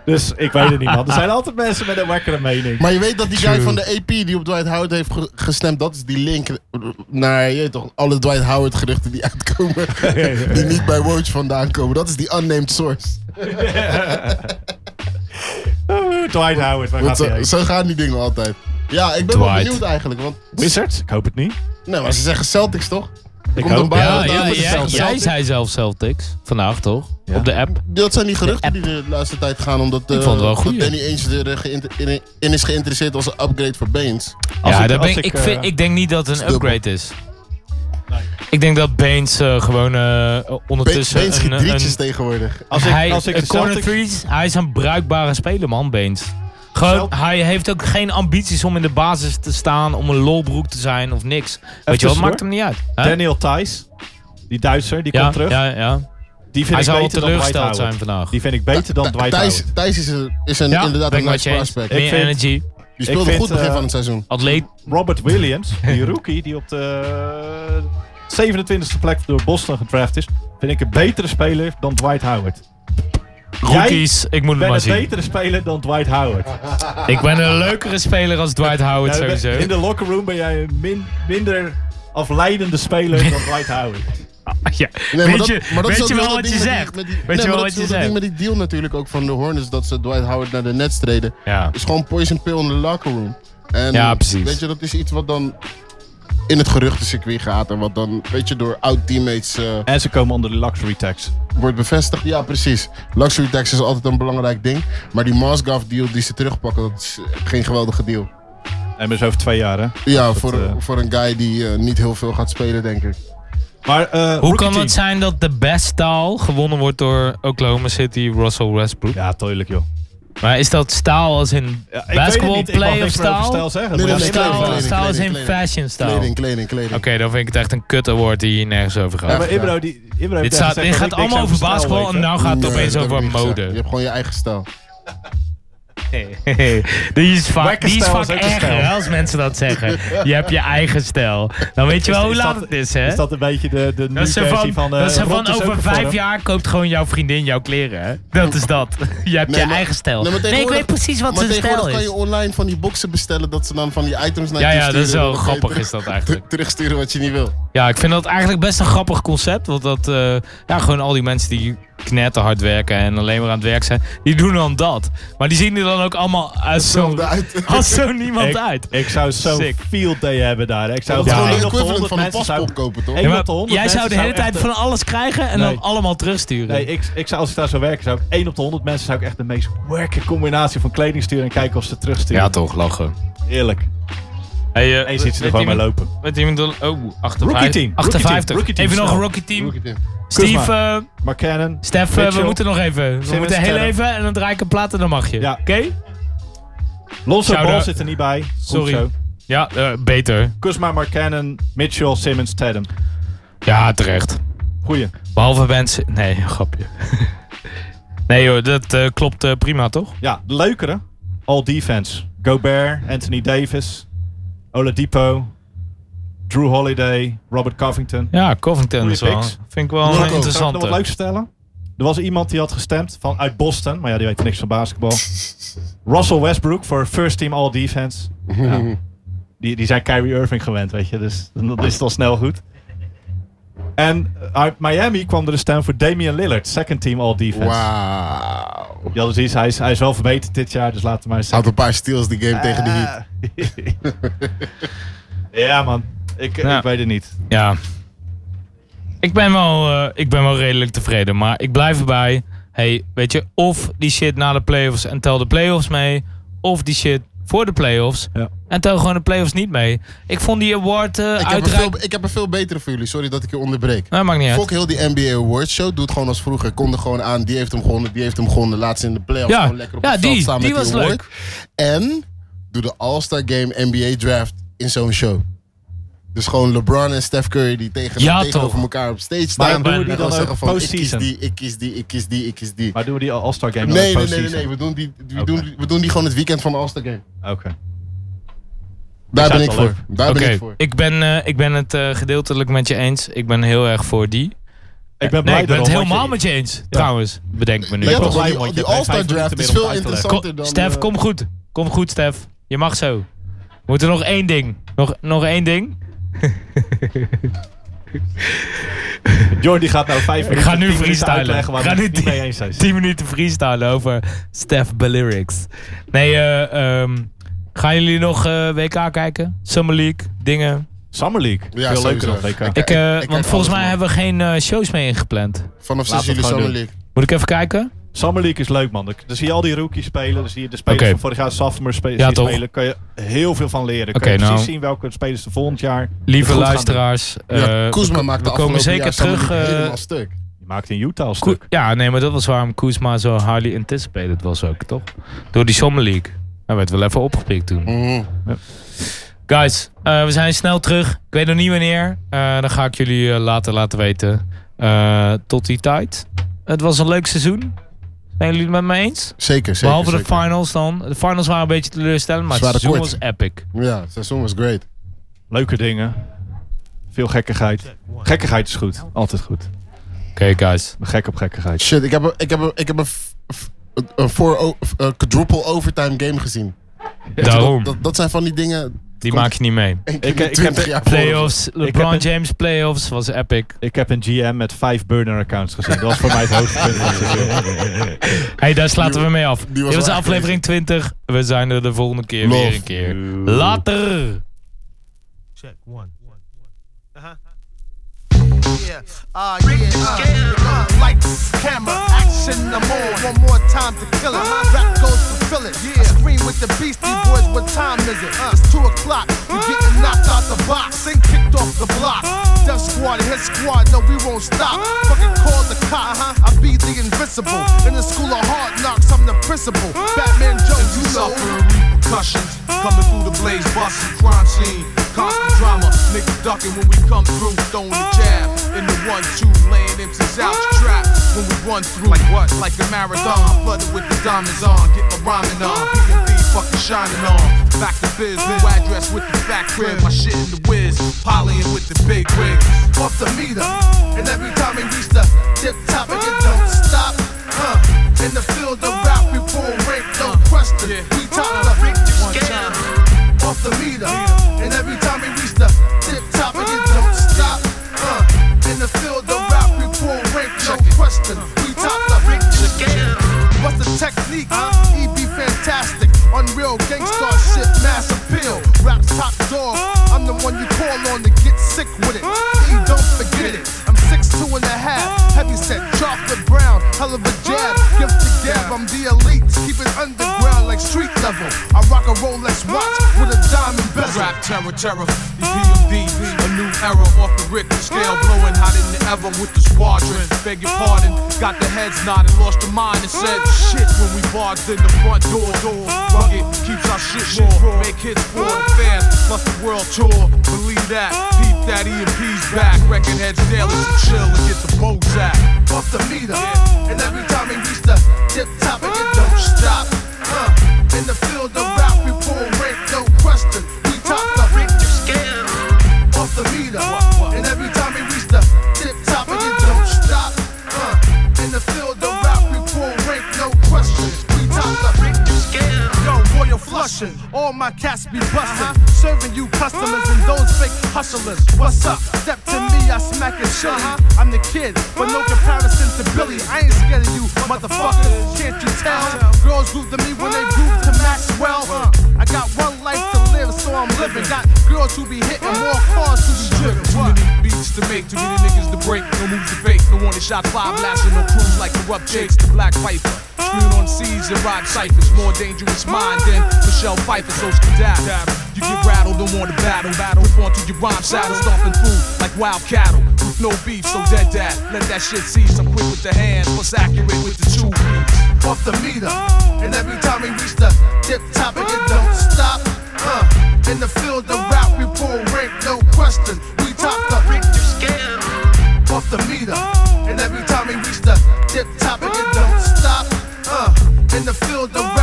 Dus ik weet het niet, man. Er zijn altijd mensen met een wakkere mening. Maar je weet dat die guy van de AP die op Dwight Howard heeft ge- gestemd, dat is die link naar je weet toch, alle Dwight Howard geruchten die uitkomen. die niet bij Woj vandaan komen. Dat is die unnamed source. Eh, Dwight Howard, waar Want gaat hij zo, heen? zo gaan die dingen altijd. Ja, ik ben wel Dwight. eh, benieuwd eigenlijk. Want, Wizards? Ik hoop het niet. nee, maar ze zeggen Celtics toch? Ik Komt hoop- een buyout Ja, aan ja, voor de ja, Celtics. Jij zei zelf Celtics vandaag toch? Op de app. Dat zijn die geruchten die de laatste tijd gaan, omdat Ik eh, vond het wel dat goeie. Danny Ainge er geïnter- in, in is geïnteresseerd als een upgrade voor Baines. ja, daar ben ik, ik, vind, eh, ik denk niet dat het een upgrade is. Ik denk dat Baines eh, gewoon eh, ondertussen. Baines een- schiet drietjes een- tegenwoordig. Als ik, hij, als ik eh, de corner Celtics- threes, hij is een bruikbare speler, man, Beens. Gewoon, hij heeft ook geen ambities om in de basis te staan, om een lolbroek te zijn of niks. Weet je wat, tussendoor. maakt hem niet uit. Hè? Daniel Thijs, die Duitser, die Ja, komt terug. ja, ja. Die vind Hij ik zou beter dan teleurgesteld Dwight Howard. zijn vandaag. Die vind ik beter dan Dwight Thijs, Howard. Thijs is een, is een, Ja, inderdaad ben een ik met nice je eens. prospect. Meer Ik vind- energy. Die Ik speelde vind, goed begin eh, van het seizoen. Atleet. Robert Williams, die rookie die op de 27e plek door Boston gedraft is, vind ik een betere speler dan Dwight Howard. Rookies, ik moet het ben maar een zien. betere speler dan Dwight Howard. Ik ben een leukere speler als Dwight Howard Nou, sowieso. In de locker room ben jij een min, minder afleidende speler dan Dwight Howard. Nee, ja. weet maar dat- je, maar dat is weet ook je wel wel dat ding met wat je die- zegt? met die- nee, Weet je maar wel dat wat je is ook zegt? ding met die deal natuurlijk ook van de Hornets dat ze Dwight Howard naar de Nets treden. Ja. is gewoon poison pill in de locker room. En Ja, precies. Weet je, dat is iets wat dan in het geruchtencircuit gaat en wat dan, weet je, door oud-teammates eh, En ze komen onder de luxury tax. wordt bevestigd. Ja, precies. Luxury tax is altijd een belangrijk ding. Maar die Mosgov deal die ze terugpakken, dat is eh, geen geweldige deal. En dus over twee jaar, hè? Ja, Dat, voor, eh, voor een guy die eh, niet heel veel gaat spelen, denk ik. Maar, eh, Hoe kan het zijn dat de best staal gewonnen wordt door Oklahoma City Russell Westbrook? Ja, tuurlijk joh. Maar is dat staal als in weet basketball het niet. Ik mag play of niks meer over staal? staal zeggen. Nee, nee, Of nee, staal- kleding, kleding, staal is in kleding, kleding. fashion staal. Kleding, kleding, kleding. Oké, dan vind ik het echt een kut award die hier nergens over gaat. Ja, maar Ibro, die, Ibro heeft dit net staat, gezegd dit dat gaat ik niks allemaal over staal basketbal weet, en hè? nou gaat het Nee, opeens dat heb over ik niet gezegd. Je mode. hebt gewoon je eigen stijl. die is vaak, Wekker die is stijl vaak is ook een erger stijl. hè, als mensen dat zeggen. Je hebt je eigen stijl. Dan weet je wel Is- hoe is laat dat- het is, hè? Is dat een beetje de, de Dat nu is zo versie van, van... eh, dat is zo Rot van is ook over een vijf vorm? jaar koopt gewoon jouw vriendin jouw kleren. Hè? Dat is dat. Je hebt Nee, je maar- eigen stijl. maar Nee, ik tegenwoordig- weet precies wat maar zijn tegenwoordig stijl is. kan je online van die boxen bestellen dat ze dan van die items naar Ja, je ja, dat is sturen en wel dan kan je grappig terug- is dat eigenlijk. Terugsturen wat je niet wil. Ja, ik vind dat eigenlijk best een grappig concept. Want dat, eh, ja, gewoon al die mensen die knetterhard werken en alleen maar aan het werk zijn, die doen dan dat. Maar die zien er dan ook allemaal als zo, als zo niemand ik, uit. Ik zou zo'n Sick. field day hebben daar. Ik zou Dat is gewoon gewoon één de op de equivalent 100 van een mensen zou- paspoort kopen, toch? één Ja, op de maar 100 jij zou mensen de hele tijd echt van een- alles krijgen en Nee. dan allemaal terugsturen. Nee, ik, ik zou als ik daar zou werken, zou ik één op de 100 mensen zou ik echt de meest werke combinatie van kleding sturen en kijken of ze terugsturen. toch, lachen. Eerlijk. Hey, eh, Eens ziet ze er weet gewoon mee iemand- lopen. Weet iemand... Oh, 58. Rookie team. Rookie 58. team, rookie team, even nog snel. een rookie team. Rookie team. Steve, Kuzma, eh Markkanen. Stef, eh, we Mitchell, moeten nog even. We Simmons, moeten heel Tatum. even en dan draai ik een plaat en dan mag je. Oké? Lonzo Shout-out. Ball zit er niet bij. Goed Sorry. zo. Ja, eh, beter. Kuzma, Markkanen, Mitchell, Simmons, Tatum. Ja, terecht. Goeie. Behalve mensen... Nee, een grapje. nee joh, dat eh, klopt eh, prima toch? Ja, de leukere. All defense. Gobert, Anthony Davis, Oladipo, Drew Holiday, Robert Covington. Ja, Covington is wel, vind ik wel een Zou ik nog interessante. wat leuks vertellen? Er was iemand die had gestemd van, uit Boston, maar ja, die weet niks van basketbal. Russell Westbrook voor first team all defense. Ja. Die, die zijn Kyrie Irving gewend, weet je, dus dat is het al snel goed. En uit Miami kwam er een stem voor Damian Lillard, second team all defense. Wauw. Ja, dus hij is, hij is wel verbeterd dit jaar, dus laten we maar eens Had een paar steals die game tegen de Heat. Ja, man. Ik, Ja. ik weet het niet. Ja. Ik ben, wel, eh, ik ben wel redelijk tevreden, maar ik blijf erbij. Hey, weet je, of die shit na de playoffs en tel de playoffs mee, of die shit voor de playoffs en tel gewoon de playoffs niet mee. Ik vond die award eh Ik heb, er uitreik- veel, ik heb er veel betere voor jullie. Sorry dat ik je onderbreek. Nee, Nou, maakt niet uit. Fok heel die NBA Awards show. Doe het gewoon als vroeger. Kom er gewoon aan. Die heeft hem gewonnen. Die heeft hem gewonnen. Laatst in de playoffs. Ja. Gewoon lekker op Ja, het die- veld staan die met was die award. En doe de All-Star Game NBA Draft in zo'n show. Dus gewoon LeBron en Steph Curry die tegen, Ja, tegenover toch. elkaar op stage Maar staan. doen we en die gewoon dan zeggen ook van ik kies postseason? die, ik kies die, ik kies die, ik kies die. Maar doen we die All-Star Game dan nee, ook nee, nee, nee, postseason? nee. We doen, die, we, doen, we doen die gewoon het weekend van de All-Star Game. Oké. Daar zou ben ik het wel voor. leuk- Daar ben Oké, ik voor. Ik ben, eh, ik ben het eh, gedeeltelijk met je eens. Ik ben heel erg voor die. Ik nee, ben blij ik ben erom, het want helemaal je- met je eens. Trouwens, bedenk me nu. Ik ben wel blij, want je hebt mij vijf minuten meer om uit te leggen. Ko- Oh, Stef, eh, kom goed. Kom goed, Stef. Je mag zo. We moeten nog één ding. Nog, nog één ding. Jordi gaat nou vijf Ik minuten, ga nu tien minuten freestylen. Ik uitleggen waar ga hij nu het niet mee 10 eens is. 10 minuten freestylen over Stef Bellyrics. Nee, eh, ehm, gaan jullie nog eh, WK kijken? Summer League, dingen? Summer League? Ja, Veel leuker sowieso. dan WK. Ik- Ik, eh, ik- ik kijk want volgens mij alles, hebben we geen eh, shows mee ingepland. Vanaf 6 Laten we het juli gewoon Summer doen. League. Moet ik even kijken? Summer League is leuk, man. Dan dan zie je al die rookies spelen. Dan zie je de spelers Oké. van vorig jaar, sophomore spelers Ja, die toch? spelen. Kan je heel veel van leren. Kun Oké, je nou. precies zien welke spelers er volgend jaar Lieve goed gaan luisteraars, doen. eh, Ja, Koesma we- maakt we de komen afgelopen zeker jaar Summer terug, League eh, helemaal stuk. Je maakt in Utah al Ko- stuk. ja, nee, maar dat was waarom Koesma zo highly anticipated was ook, toch? Door die Summer League. Hij werd wel even opgepikt toen. Mhm. Ja. Guys, eh, we zijn snel terug. Ik weet nog niet wanneer. Eh, dan ga ik jullie eh, later laten weten. Eh, tot die tijd. Het was een leuk seizoen. Zijn jullie het met me eens? Zeker, zeker. Behalve zeker. de finals dan. De finals waren een beetje teleurstellend, maar Ze het waren seizoen kort. was epic. Ja, het seizoen was great. Leuke dingen. Veel gekkigheid. Gekkigheid is goed. Altijd goed. Oké, guys. Gek op gekkigheid. Shit, ik heb, een- ik heb, een- ik heb een, f- f- een eh, voor, o- f- een quadruple overtime game gezien. Daarom. Dat, dat, dat zijn van die dingen. Die maak je niet mee. Ik, Ik- ik heb de Playoffs, LeBron heb een- James playoffs was epic. Ik heb een GM met vijf burner-accounts gezien. Dat was voor mij het hoogtepunt van het seizoen. hey, daar slaten Die- we mee af. die was Dit wel was de echt aflevering 20. We zijn er de volgende keer Love weer een keer. you. Later! Check one. Yeah, uh, yeah, uh, lights, camera, action, no more. One more time to kill it. My rap goes to fill it. I scream with the Beastie Boys. What time is it? It's two o'clock. You getting knocked out the box and kicked off the block. Death squad, hit squad. No, we won't stop. Fucking call the cop. I be the invincible. In the school of hard knocks, I'm the principal. Batman Joe, you know. Repercussions coming through the blaze, busting crime scene, constant drama. Niggas ducking when we come through, throwing the jab in the one two, laying MCs out the trap. When we run through, like what? Like a marathon, flooded with the diamonds on, get my rhyming on, P&B fucking shining on. Back to biz, new address with the back crib, my shit in the whiz, polying with the big rig. Off the meter. And every time we reach the tip top, and it don't stop. Huh. In the field of rap, we pull rank, no question. We top the one time. Off the meter. And every time we reach the tip top, and it don't stop. Huh. In the field of rap, we pull rank, no question. We top the What's the technique? EB fantastic. Unreal gangsta shit, mass appeal. Rap top dog. I'm the one you call on to get sick with it. E, don't forget it. I'm six two and a half. Heavy set, chocolate brown. Hell of a jab. Gift to gab. I'm the elite. Keep it underground like street level. I rock a Rolex watch with a diamond bezel. Rap terror, terror. These PMDs, a new era off the Richter scale, blowing hot in the ever with the squadron. Beg your pardon, got the heads nodded, lost the mind and said shit when we barged in the front door. door. Rugged keeps our shit raw, make hits for the fans. Plus the world tour, believe that. Peep that EMP's back, record heads daily, so chill and get the Bozak. Off the meter, and every time we reach the tip top, it don't stop. Uh, in the field of rap, we pull rank, no question. We top the rank, you scared. Off the meter, and every time we reach the tip top, it don't stop. Uh, in the field of rap, we pull rank, no question. We top the rank, you scared. Uh-huh. Yo, royal flushing, all my cats be bustin', serving you customers and those fake hustlers. What's up? Step to me, I smack and shit. I'm the kid, but no comparison to Billy. I ain't scared of you, motherfuckers. Can't you tell? Uh. Girls lose to me when they groove to Maxwell. I got one life to live, so I'm living. Got girls who be hitting more cars to be driven. Too many beats to make, too many niggas to break. No moves to fake, no one to shot five lashes, no crews like corrupt Jakes, the Black Viper. Screwing on seas and rod ciphers, more dangerous mind than Michelle Pfeiffer, so skedaddle. You get rattled, don't want to battle, battle. Fall to your rhyme saddle, stomping through like wild cattle. With no beef, so dead dad. Let that shit cease. I'm quick with the hands, plus accurate with the two beats. Off the meter, and every time we reach the tip top, and it don't stop. Uh, in the field of rap, we pull rank, no question. We top the rank, you scared. Off the meter, and every time we reach the tip top, and it don't stop. Uh, in the field of